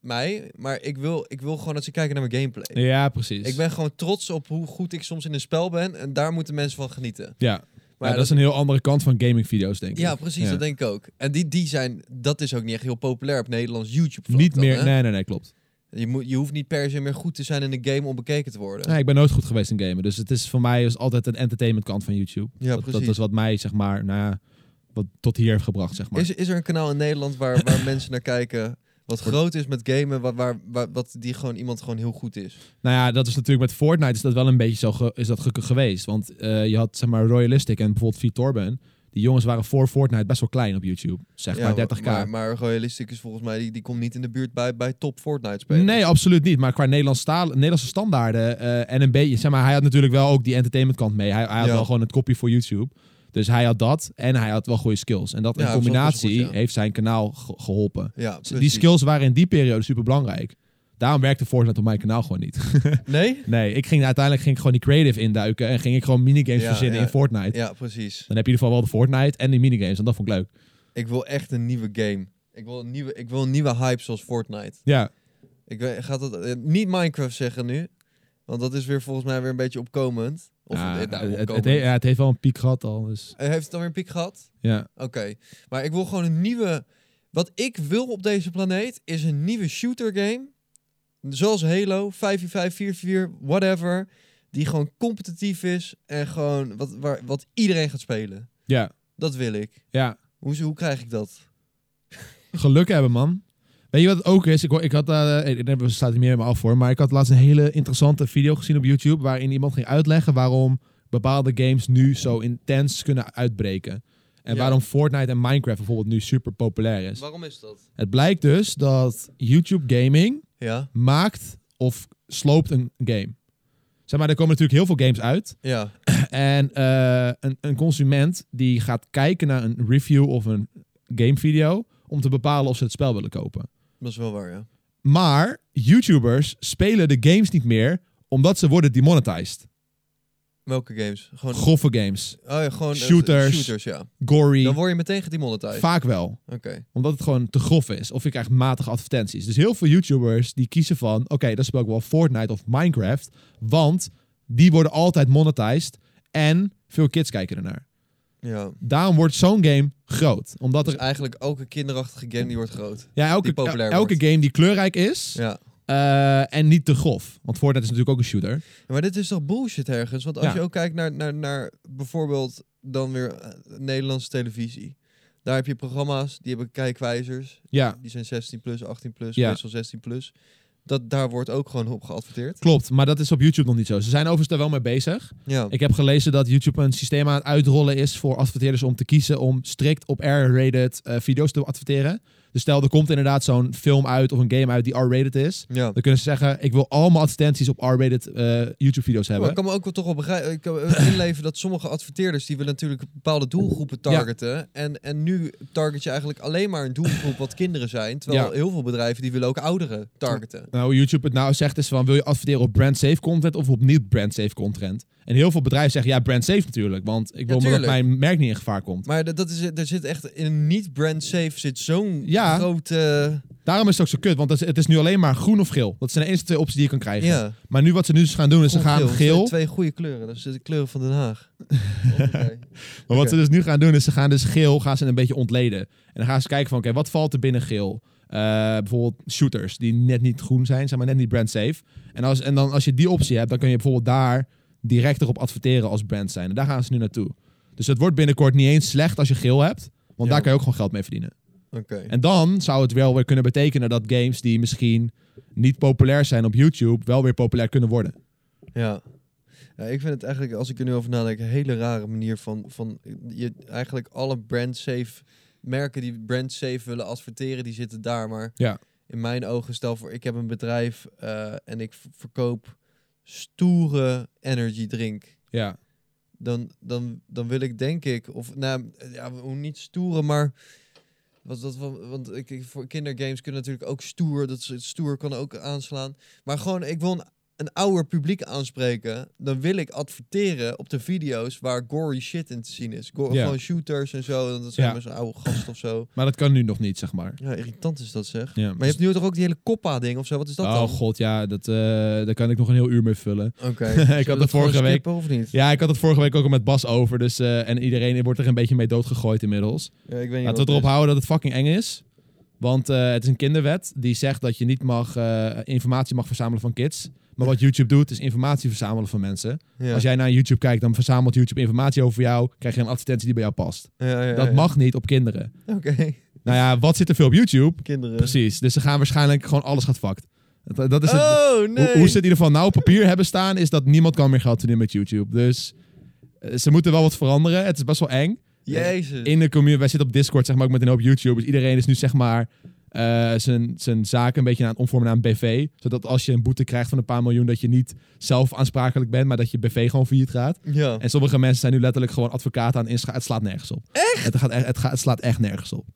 B: mij. Maar ik wil, ik wil gewoon dat ze kijken naar mijn gameplay.
A: Ja, precies.
B: Ik ben gewoon trots op hoe goed ik soms in een spel ben. En daar moeten mensen van genieten.
A: Ja. Maar
B: Maar
A: dat, is een heel andere kant van gaming-video's, denk ik.
B: Ja, precies. Dat denk ik ook. En die, die zijn, dat is ook niet echt heel populair op Nederlands YouTube.
A: Niet meer, nee, nee, nee, klopt.
B: Je, moet, je hoeft niet per se meer goed te zijn in een game om bekeken te worden.
A: Nee, ik ben nooit goed geweest in gamen, dus het is voor mij is altijd een entertainment kant van YouTube.
B: Ja,
A: dat, dat
B: precies.
A: is wat mij, zeg maar, nou ja, wat tot hier heeft gebracht, zeg maar.
B: Is, is er een kanaal in Nederland waar, waar mensen naar kijken wat groot is met gamen, waar, waar, waar- wat die gewoon iemand gewoon heel goed is?
A: Nou ja, dat is natuurlijk met Fortnite is dat wel een beetje zo ge- is dat ge- geweest. Want eh, je had zeg maar Royalistic en bijvoorbeeld Vitorben. Die jongens waren voor Fortnite best wel klein op YouTube. Zeg
B: Ja,
A: maar 30k.
B: Maar, maar Royalistic is volgens mij, die, die komt niet in de buurt bij, bij top Fortnite spelen.
A: Nee, absoluut niet. Maar qua Nederlandstaal- Nederlandse standaarden eh, en een beetje... Zeg maar, hij had natuurlijk wel ook die entertainment kant mee. Hij, hij had
B: Ja.
A: wel gewoon het kopje voor YouTube. Dus hij had dat en hij had wel goede skills. En dat
B: Ja,
A: in
B: dat is wel
A: combinatie
B: best goed, ja.
A: heeft zijn kanaal ge- geholpen.
B: Ja,
A: Dus Die
B: precies.
A: skills waren in die periode super belangrijk. Daarom werkte Fortnite op mijn kanaal gewoon niet.
B: Nee?
A: Nee, ik ging uiteindelijk ging ik gewoon die creative induiken en ging ik gewoon minigames
B: Ja,
A: verzinnen
B: ja.
A: in Fortnite.
B: Ja, precies.
A: Dan heb je in ieder geval wel de Fortnite en die minigames en dat vond ik leuk.
B: Ik wil echt een nieuwe game. Ik wil een nieuwe, ik wil een nieuwe hype zoals Fortnite.
A: Ja,
B: Ik weet, gaat dat eh, niet Minecraft zeggen nu, want dat is weer volgens mij weer een beetje opkomend. Of
A: Ja,
B: eh,
A: Ah, het,
B: nou,
A: het,
B: opkomend.
A: he- ja, het heeft wel een piek gehad al. Dus,
B: Eh, Heeft het dan weer een piek gehad?
A: ja.
B: Oké, maar ik wil gewoon een nieuwe. Wat ik wil op deze planeet is een nieuwe shooter game. Zoals Halo, 5v5, 4v4, whatever. Die gewoon competitief is en gewoon wat, waar, wat iedereen gaat spelen.
A: Ja,
B: Dat wil ik.
A: ja.
B: Hoe, hoe krijg ik dat?
A: Geluk hebben, man. Weet je wat het ook is? Ik, hoor- ik had, eh ik, nee, we staan er meer helemaal af hoor, maar ik had laatst een hele interessante video gezien op YouTube waarin iemand ging uitleggen waarom bepaalde games nu zo intens kunnen uitbreken. En
B: Ja.
A: waarom Fortnite en Minecraft bijvoorbeeld nu super populair is.
B: Dus Waarom is dat?
A: Het blijkt dus dat YouTube gaming
B: Ja,
A: maakt of sloopt een game. Zeg maar, er komen natuurlijk heel veel games uit.
B: ja,
A: En eh, een, een consument die gaat kijken naar een review of een gamevideo... om te bepalen of ze het spel willen kopen.
B: dat is wel waar, ja.
A: Maar YouTubers spelen de games niet meer... omdat ze worden demonetized.
B: Welke games? Gewoon,
A: Grove games,
B: oh ja, gewoon eh,
A: shooters.
B: shooters, ja. Dan
A: gory,
B: word je meteen gedemonetized.
A: vaak wel.
B: Oké,
A: Omdat het gewoon te grof is. Of je krijgt matige advertenties. Dus heel veel YouTubers die kiezen van... oké, dat dan speel ik wel Fortnite of Minecraft. Want die worden altijd monetized. En veel kids kijken ernaar.
B: ja.
A: Daarom wordt zo'n game groot. Omdat
B: Dus
A: er...
B: eigenlijk elke kinderachtige game die wordt groot.
A: Ja, elke,
B: die populair
A: elke
B: wordt.
A: game die kleurrijk is.
B: Ja.
A: eh, en niet te grof. Want Fortnite is natuurlijk ook een shooter.
B: Ja, maar dit is toch bullshit ergens? Want als
A: Ja.
B: je ook kijkt naar, naar, naar bijvoorbeeld dan weer eh, Nederlandse televisie. Daar heb je programma's, die hebben kijkwijzers.
A: Ja,
B: Die zijn 16 plus, 18 plus,
A: Ja.
B: meestal 16 plus. Dat, daar wordt ook gewoon op geadverteerd.
A: klopt. Maar dat is op YouTube nog niet zo. Ze zijn overigens daar wel mee bezig.
B: Ja,
A: Ik heb gelezen dat YouTube een systeem aan het uitrollen is... voor adverteerders om te kiezen om strikt op R-rated eh, video's te adverteren. Dus stel, er komt inderdaad zo'n film uit of een game uit die R-rated is.
B: ja.
A: Dan kunnen ze zeggen, ik wil allemaal advertenties op R-rated eh, YouTube-video's
B: Maar
A: hebben.
B: Oh, ik kan me ook wel toch wel begrijpen, ik kan me inleven dat sommige adverteerders die willen natuurlijk bepaalde doelgroepen targeten. En, en nu target je eigenlijk alleen maar een doelgroep wat kinderen zijn. Terwijl
A: Ja.
B: heel veel bedrijven die willen ook ouderen targeten.
A: Nou, hoe YouTube het nou zegt is van, wil je adverteren op brand-safe content of op niet-brand-safe content? En heel veel bedrijven zeggen, ja, brand-safe natuurlijk, want ik wil maar dat
B: tuurlijk.
A: mijn merk niet in gevaar komt.
B: Maar dat, dat is, er zit echt in een niet-brand safe zit zo'n
A: Ja.
B: grote...
A: Daarom is het ook zo kut, want het is, het is nu alleen maar groen of geel. Dat zijn de eerste twee opties die je kan krijgen.
B: Ja.
A: Maar nu wat ze nu dus gaan doen, is ze gaan
B: Dat zijn
A: geel.
B: Twee goede kleuren. Dat is de kleuren van Den Haag. Oké.
A: Maar wat ze dus nu gaan doen, is ze gaan dus geel gaan ze een beetje ontleden. En dan gaan ze kijken van, oké, wat valt er binnen geel? Eh, bijvoorbeeld shooters die net niet groen zijn, zeg maar net niet brand safe. En, als, en dan als je die optie hebt, dan kun je bijvoorbeeld daar direct erop adverteren als brand zijn. En daar gaan ze nu naartoe. Dus het wordt binnenkort niet eens slecht als je geel hebt, want
B: Ja.
A: daar kan je ook gewoon geld mee verdienen.
B: Oké.
A: En dan zou het wel weer kunnen betekenen dat games die misschien niet populair zijn op YouTube, wel weer populair kunnen worden.
B: Ja. Ja, ik vind het eigenlijk, als ik er nu over nadenk, een hele rare manier van, van je, eigenlijk alle brand safe merken die brand safe willen adverteren, die zitten daar. Maar
A: Ja.
B: in mijn ogen, stel voor, ik heb een bedrijf eh, en ik v- verkoop stoere energy drink.
A: Ja,
B: dan, dan, dan wil ik denk ik, of nou ja, hoe niet stoeren, maar Was dat, van- want ik, ik- voor kindergames kunnen natuurlijk ook stoer, dat ze- stoer kan ook aanslaan. Maar gewoon, ik wil een, een ouder publiek aanspreken. Dan wil ik adverteren op de video's waar gory shit in te zien is. Go-
A: Ja.
B: Gewoon shooters en zo. en Dat zijn
A: Ja.
B: maar zo'n oude gast of zo.
A: Maar dat kan nu nog niet, zeg maar.
B: Ja, irritant is dat zeg.
A: Ja.
B: Maar je hebt nu toch ook die hele koppa-ding of zo? Wat is dat
A: oh
B: dan?
A: god, ja, dat, eh, daar kan ik nog een heel uur mee vullen.
B: Oké.
A: had
B: Zullen we
A: het
B: gewoon
A: vorige week-
B: skippen of niet?
A: Ja, ik had het vorige week ook al met Bas over. Dus, eh, en iedereen wordt er een beetje mee doodgegooid inmiddels.
B: Ja, ik weet niet.
A: Laten
B: wat
A: we erop
B: het
A: houden dat het fucking eng is. Want eh, het is een kinderwet die zegt dat je niet mag, eh, informatie mag verzamelen van kids. Maar wat YouTube doet, is informatie verzamelen van mensen.
B: is. Ja.
A: Als jij naar YouTube kijkt, dan verzamelt YouTube informatie over jou. Krijg je een advertentie die bij jou past.
B: Ja, ja,
A: dat
B: ja.
A: mag niet op kinderen.
B: Oké.
A: Nou ja, wat zit er veel op YouTube?
B: Kinderen.
A: Precies. Dus ze gaan waarschijnlijk gewoon alles gaat fucked. Dat, dat is het,
B: Oh, nee.
A: Hoe, hoe ze het in ieder geval nou op papier hebben staan, is dat niemand kan meer geld verdienen met YouTube. Dus eh, ze moeten wel wat veranderen. Het is best wel eng.
B: Jezus.
A: In de community, wij zitten op Discord, zeg maar, ook met een hoop YouTubers. Iedereen is nu, zeg maar, eh, zijn, zijn zaken een beetje aan het omvormen naar een BV. Zodat als je een boete krijgt van een paar miljoen, dat je niet zelf aansprakelijk bent, maar dat je BV gewoon failliet gaat.
B: Ja.
A: En sommige mensen zijn nu letterlijk gewoon advocaten aan het inschakelen. Het slaat nergens op. Echt? Het, gaat, echt- het, gaat, het slaat echt nergens op.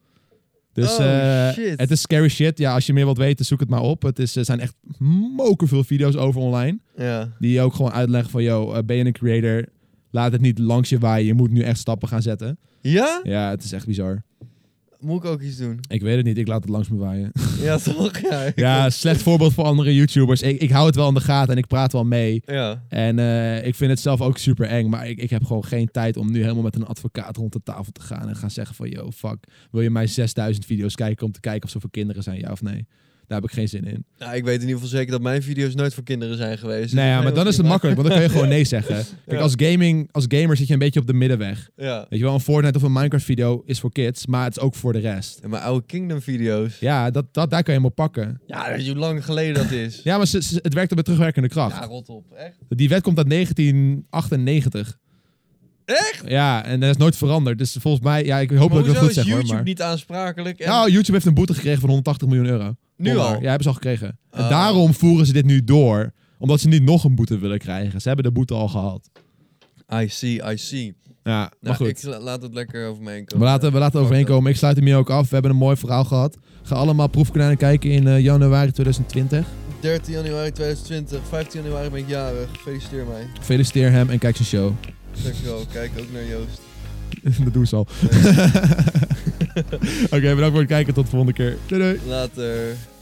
A: Dus
B: Oh,
A: eh,
B: shit.
A: het is scary shit. Ja, als je meer wilt weten, zoek het maar op. Het is, er zijn echt mokerveel video's over online.
B: Ja.
A: Die je ook gewoon uitleggen van, yo, eh, ben je een creator? Laat het niet langs je waaien. Je moet nu echt stappen gaan zetten.
B: Ja?
A: Ja, het is echt bizar.
B: Moet ik ook iets doen?
A: Ik weet het niet. Ik laat het langs me waaien.
B: Ja, toch? Ja. ik-
A: ja, slecht voorbeeld voor andere YouTubers. Ik, ik hou het wel in de gaten en ik praat wel mee.
B: Ja.
A: En eh, ik vind het zelf ook super eng, maar ik, ik heb gewoon geen tijd om nu helemaal met een advocaat rond de tafel te gaan en gaan zeggen van, yo, fuck, wil je mij 6000 video's kijken om te kijken of ze voor kinderen zijn, ja of nee? Daar heb ik geen zin in.
B: Nou, ik weet in ieder geval zeker dat mijn video's nooit voor kinderen zijn geweest.
A: Nou ja, maar dan is het makkelijk, want dan kun je gewoon nee zeggen. Kijk, als, gaming, als gamer zit je een beetje op de middenweg.
B: Ja.
A: Weet je wel, een Fortnite of een Minecraft video is voor kids, maar het is ook voor de rest.
B: En mijn oude Kingdom video's.
A: Ja, dat, dat, daar kan je hem op pakken.
B: Ja, dat is hoe lang geleden dat is.
A: Ja, maar ze- ze- het werkt op met terugwerkende kracht.
B: Ja, rot op. Echt?
A: Die wet komt uit 1998. Echt? Ja, en dat is nooit veranderd. Dus volgens mij, ja, ik hoop
B: Maar
A: dat ik het
B: hoezo
A: goed
B: is
A: zeg hoor.
B: YouTube
A: Maar...
B: niet aansprakelijk? En...
A: Nou, YouTube heeft een boete gekregen van 180 miljoen euro.
B: Nu
A: Dollar.
B: al?
A: Ja, hebben ze al gekregen. En
B: Oh.
A: daarom voeren ze dit nu door. Omdat ze niet nog een boete willen krijgen. Ze hebben de boete al gehad.
B: I see, I see.
A: Ja, maar
B: Nou,
A: goed.
B: ik la- laat het lekker over me heen komen.
A: We laten, we laten overheen komen. Ik sluit hem hier ook af. We hebben een mooi verhaal gehad. Ga allemaal proefkonijnen kijken in eh, januari 2020.
B: 13 januari 2020, 15 januari ben ik jarig. Feliciteer mij.
A: Feliciteer hem en kijk zijn show.
B: Dankjewel. Kijk ook naar Joost.
A: dat doen ze al. Oké, bedankt voor het kijken. Tot de volgende keer. Doei doei.
B: Later.